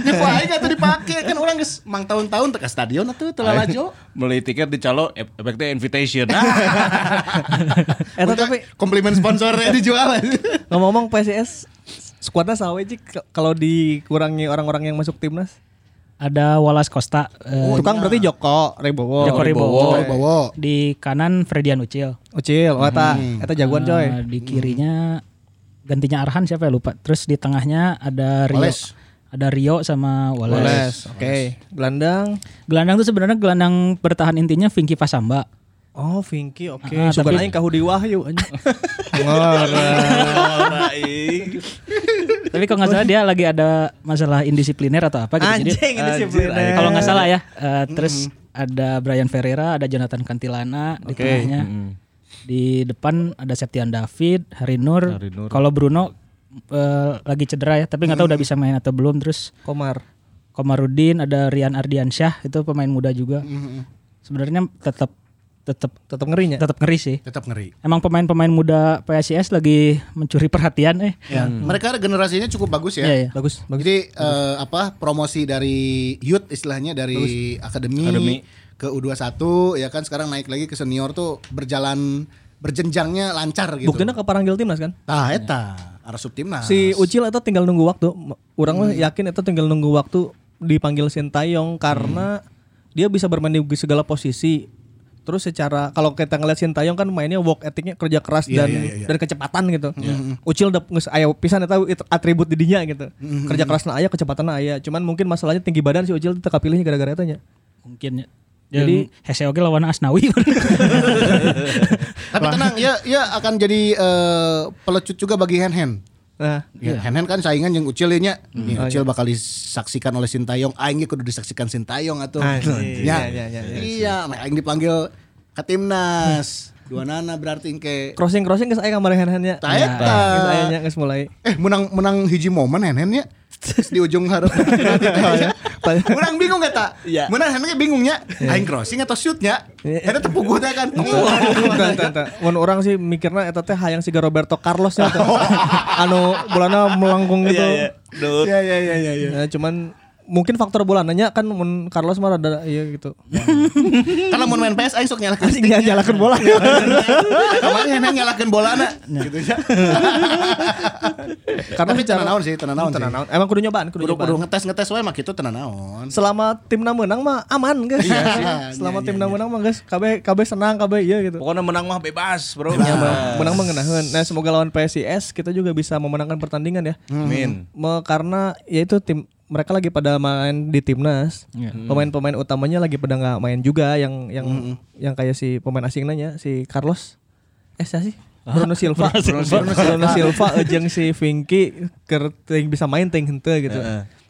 S4: Nyepo aing atuh dipake kan orang geus mang tahun-tahun teh ka stadion atuh teu lalajo.
S3: Beli tiket di calo, ef- efeknya invitation. Ah,
S2: Eta Eh, tapi
S4: komplimen sponsornya dijual.
S2: ngomong-ngomong PSIS skuadnya sawe Cik, k- kalau dikurangi orang-orang yang masuk timnas.
S5: Ada Wallace Costa eh,
S4: iya.
S2: Tukang berarti Joko Ribowo.
S5: Joko Ribowo.
S4: Oh, bawa.
S5: Di kanan Fredian Ucil.
S2: Ucil, oh, eta eta jagoan coy.
S5: Eh, di kirinya gantinya Arhan siapa ya lupa. Terus di tengahnya ada Rio.
S4: Wallace.
S5: Ada Rio sama Wallace.
S2: Oles, oke. Gelandang.
S5: Gelandang tuh sebenarnya gelandang bertahan intinya Vinky Pasamba.
S2: Oh, Vinky, oke.
S5: Ah,
S2: Sugan
S5: tapi-
S2: aing ka Hudi Wahyu anjing.
S5: Tapi kalau nggak salah dia lagi ada masalah indisipliner atau apa gitu. Jadi
S2: Anjing ini sih bener.
S5: kalau nggak salah ya. eh, terus ada Brian Ferreira, ada Jonathan Cantilana di tengahnya. Di depan ada Septian David, Hari Nur. Kalau Bruno eh, lagi cedera ya, tapi nggak tahu udah bisa main atau belum. Terus
S2: Komar.
S5: Komarudin, ada Rian Ardiansyah itu pemain muda juga. Sebenarnya tetap tetap
S2: Tetap ngerinya.
S5: tetap ngeri sih.
S4: Tetap ngeri.
S5: Emang pemain-pemain muda PSIS lagi mencuri perhatian eh.
S4: Ya, mereka generasinya cukup bagus ya.
S5: Iya, iya.
S2: Hmm. Bagus, bagus.
S4: Jadi eh, apa promosi dari youth istilahnya dari akademi, ke U21 ya kan sekarang naik lagi ke senior tuh berjalan berjenjangnya lancar gitu.
S2: Buktinya ke Paranggil timnas kan?
S4: Tah eta arah subtimnas.
S2: Si Ucil itu tinggal nunggu waktu. M- Orang mah yakin itu tinggal nunggu waktu dipanggil Sintayong karena dia bisa bermain di segala posisi. Terus secara kalau kita ngeliat Sintayong kan mainnya work ethicnya kerja keras dan dan kecepatan gitu. Ucil udah nges aya pisan eta it- atribut di dinya gitu. Kerja kerasna aya, kecepatan aya. Cuman mungkin masalahnya tinggi badan si Ucil teka pilihnya gara-gara etanya.
S5: Mungkin ya. Jadi Hese oge lawan Asnawi.
S4: Tapi tenang ya ya akan jadi eh, pelecut juga bagi hand hand.
S2: Nah,
S4: Ya, hand hand kan saingan yang ucil ya nya.
S2: Hmm.
S4: Nih,
S2: Oh, iya.
S4: ucil bakal disaksikan oleh Sintayong. Aing ge kudu disaksikan Sintayong atuh. Ya.
S2: iya, iya, Hmm.
S4: Iya, nah, aing dipanggil ke timnas. Dua nana berarti engke.
S2: crossing-crossing geus aya kamari hand-handnya.
S4: Tah eta.
S2: Geus ayanya geus mulai.
S4: Eh menang menang hiji momen henhennya di ujung harap
S2: Oh, iya.
S4: Menang bingung gak tak? Menang henhennya bingungnya. ya. Aing crossing atau shootnya?
S2: Iya.
S4: Ada tepuguh teh kan.
S2: Entah, entah, entah. Mun orang sih mikirna eta teh hayang siga Roberto Carlos nya teh. anu bolana melengkung gitu.
S4: Iya iya iya iya. Ya.
S2: Nah, cuman mungkin faktor bolananya kan mun Carlos mah rada iya gitu.
S4: Kalau mau Kan main PS aing sok nyalakeun
S2: Asik dia
S4: iya.
S2: nyalakeun bola.
S4: Kamari henhen nyalakeun bola na. Gitu ya.
S2: Karena
S4: Tapi
S2: secara-
S4: tenan naon sih, tenan naon.
S2: Tenan
S4: sih.
S2: naon. Emang kudu nyobaan, kudu,
S4: Kudu
S2: nyobaan.
S4: kudu ngetes ngetes wae mah kitu tenan naon.
S2: Selama timna menang mah aman guys.
S4: Iya,
S2: Selama timna menang mah guys KB KB senang KB iya gitu.
S3: Pokoknya menang mah bebas bro.
S2: Menang mengenahan. Nah, semoga lawan PSIS kita juga bisa memenangkan pertandingan ya.
S4: Hmm.
S3: Amin.
S2: Me- karena yaitu tim mereka lagi pada main di timnas. Pemain-pemain utamanya lagi pada nggak main juga yang yang yang kayak si pemain asing nanya si Carlos. Eh siapa sih? Bruno Silva, Bruno Silva, Bruno Silva, jeung si Vinky keur teuing bisa main ting henteu gitu.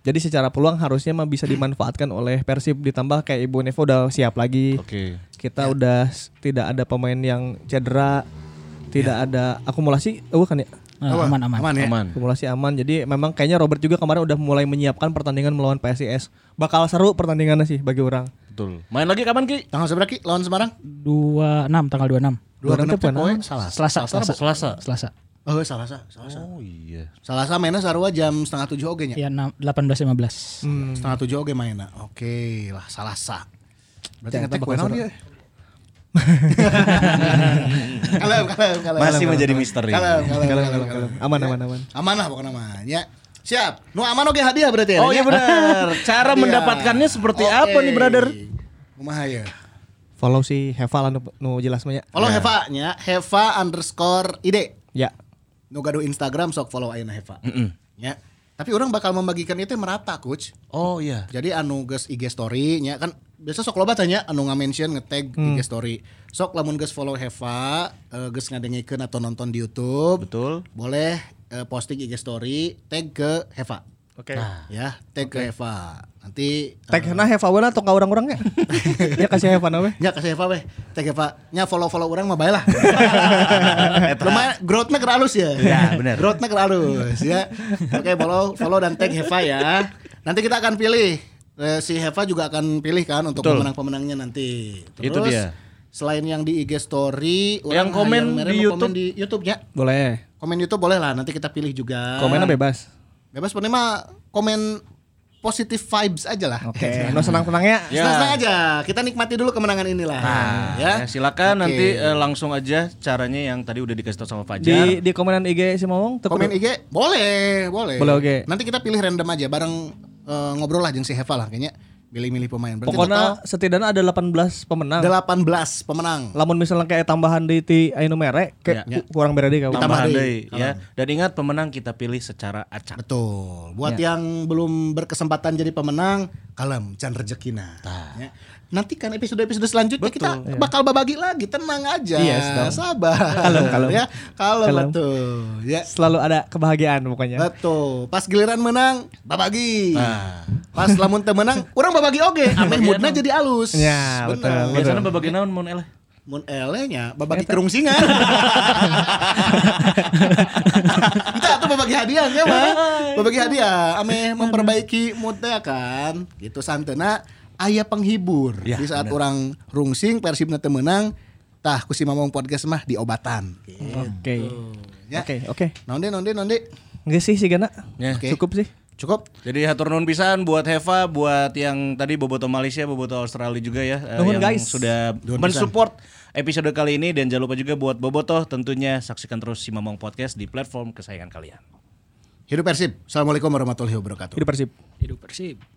S2: Jadi secara peluang harusnya mah bisa dimanfaatkan oleh Persib ditambah kayak Ibu Nevo udah siap lagi.
S3: Oke.
S2: Kita udah s- tidak ada pemain yang cedera, tidak ada akumulasi, oh kan ya?
S5: Nah, aman aman.
S4: Aman ya.
S3: Aman.
S2: Simulasi aman. Jadi memang kayaknya Robert juga kemarin udah mulai menyiapkan pertandingan melawan PSIS. Bakal seru pertandingannya sih bagi orang.
S3: Betul. Main lagi kapan Ki?
S4: Tanggal seberapa Ki? Lawan Semarang?
S5: 26 tanggal 26.
S2: Dua
S4: Dua genep
S2: genep,
S4: teh poe
S2: poe.
S4: salah.
S5: Selasa Selasa.
S3: Selasa.
S5: Selasa.
S4: Oh, salah salah. Salah
S3: Oh iya.
S4: Salasa mainnya sarua jam setengah tujuh oge nya. Hmm.
S5: Iya 18.15.
S4: setengah tujuh oke mainnya oke lah salah sa berarti ngetek kue naon dia kalem kalem kalem
S3: Masih menjadi misteri.
S4: kalem kalem kalem kalem, kalem.
S2: Aman aman aman.
S4: aman lah pokoknya namanya siap nu aman oke hadiah berarti ya
S3: Oh iya
S4: Nanya?
S3: benar. Cara
S4: Hadiah.
S3: mendapatkannya seperti
S4: Oke.
S3: apa nih brother?
S4: kumaha ya
S2: Follow si Heva lah nu, nu jelas mah ya. nya.
S4: follow
S3: Ya.
S4: Heva nya Heva underscore ide
S2: Ya.
S4: nu gaduh Instagram sok follow ayeuna Heva ya tapi orang bakal membagikan itu merata coach
S3: Oh iya.
S4: Jadi anu geus IG story nya kan biasa sok loba tanya anu nga-mention nge-tag IG
S3: Hmm.
S4: story. Sok lamun geus follow Heva, eh, geus ngadengekeun atau nonton di YouTube.
S3: Betul.
S4: Boleh eh, posting IG story, tag ke Heva.
S2: Oke.
S3: Nah.
S4: Ya, tag ke Heva. Nanti eh,
S2: Tag nah Heva Wela atau nggak orang-orangnya? ya kasih Heva nama.
S4: Nya kasih Eva weh. Tag Eva. Nya follow-follow orang mah bae lah. Lumayan growth-nya keur halus ya.
S3: Ya, bener.
S4: Growth-nya keur halus ya. Oke, follow follow dan tag Eva ya. Nanti kita akan pilih Eh, si Heva juga akan pilih kan untuk
S3: Betul.
S4: pemenang-pemenangnya nanti.
S3: Itu dia.
S4: Selain yang di IG story,
S3: Yang
S4: orang
S3: komen
S4: hayang mere
S3: di
S4: mau komen
S3: YouTube.
S4: di YouTube ya.
S1: Boleh.
S4: Komen YouTube boleh lah, nanti kita pilih
S2: Ah.
S4: juga.
S1: Komennya bebas.
S4: Bebas pokoknya mah komen positive vibes aja lah.
S2: Oke, no senang-senangnya.
S3: Ya.
S4: Senang-senang aja. Kita nikmati dulu kemenangan inilah.
S2: Nah,
S4: ya.
S3: Ya, silakan
S4: Oke.
S3: nanti eh, langsung aja caranya yang tadi udah dikasih tau sama Fajar.
S2: Di di komenan IG si Momong teu
S4: komen
S2: kudu-
S4: IG boleh, boleh.
S2: Boleh, oke.
S4: Nanti kita pilih random aja bareng eh, ngobrol lah jeung si Heva lah kayaknya. Pilih-milih pemain. Berarti
S2: Pokoknya ah. setidaknya ada 18 pemenang.
S4: total 18 pemenang.
S2: Lamun misalnya kayak tambahan di ti anu mere kayak
S3: Ya.
S2: ku- kurang berada di kawan.
S4: Tambah
S3: Tambahan
S4: deui.
S3: deui, ya. Dan ingat pemenang kita pilih secara acak.
S4: Betul. Buat
S2: Ya.
S4: yang belum berkesempatan jadi pemenang, kalem can rezekina. Ya. Nanti kan episode-episode selanjutnya kita bakal babagi lagi, tenang
S2: ya.
S4: aja.
S2: Iya, sedang.
S4: sabar.
S2: Kalem, kalem.
S4: Ya, kalem,
S2: Kalem.
S4: betul. Ya.
S2: Selalu ada kebahagiaan pokoknya.
S4: Betul. Pas giliran menang, babagi.
S2: Nah.
S4: Pas lamun teu menang, urang babagi oge. Ameh moodna jadi alus.
S2: Iya, Ya, betul,
S4: Bener.
S2: betul.
S3: Biasanya babagian naon mun eleh?
S4: Mun elenya babagi kerung singan. Entah tuh babagi hadiah ya, mah. Babagi hadiah ameh memperbaiki moodnya kan. Gitu santena aya penghibur.
S3: Ya,
S4: Di saat orang rungsing persibna teu menang, tah ku si Mamong podcast mah diobatan. Gitu.
S2: Oke.
S4: Ya.
S2: Oke, oke.
S4: Nonde nonde nonde.
S2: Enggak sih sih Gana.
S3: Ya.
S4: Oke.
S2: Cukup sih.
S4: Cukup.
S3: Jadi hatur nuhun pisan buat Heva, buat yang tadi boboto Malaysia, boboto Australia juga ya eh,
S2: Nuhun,
S3: yang
S2: guys.
S3: sudah mensupport episode kali ini dan jangan lupa juga buat boboto tentunya saksikan terus si Mamong Podcast di platform kesayangan kalian.
S4: Hidup Persib. Assalamualaikum warahmatullahi wabarakatuh.
S2: Hidup Persib.
S5: Hidup Persib.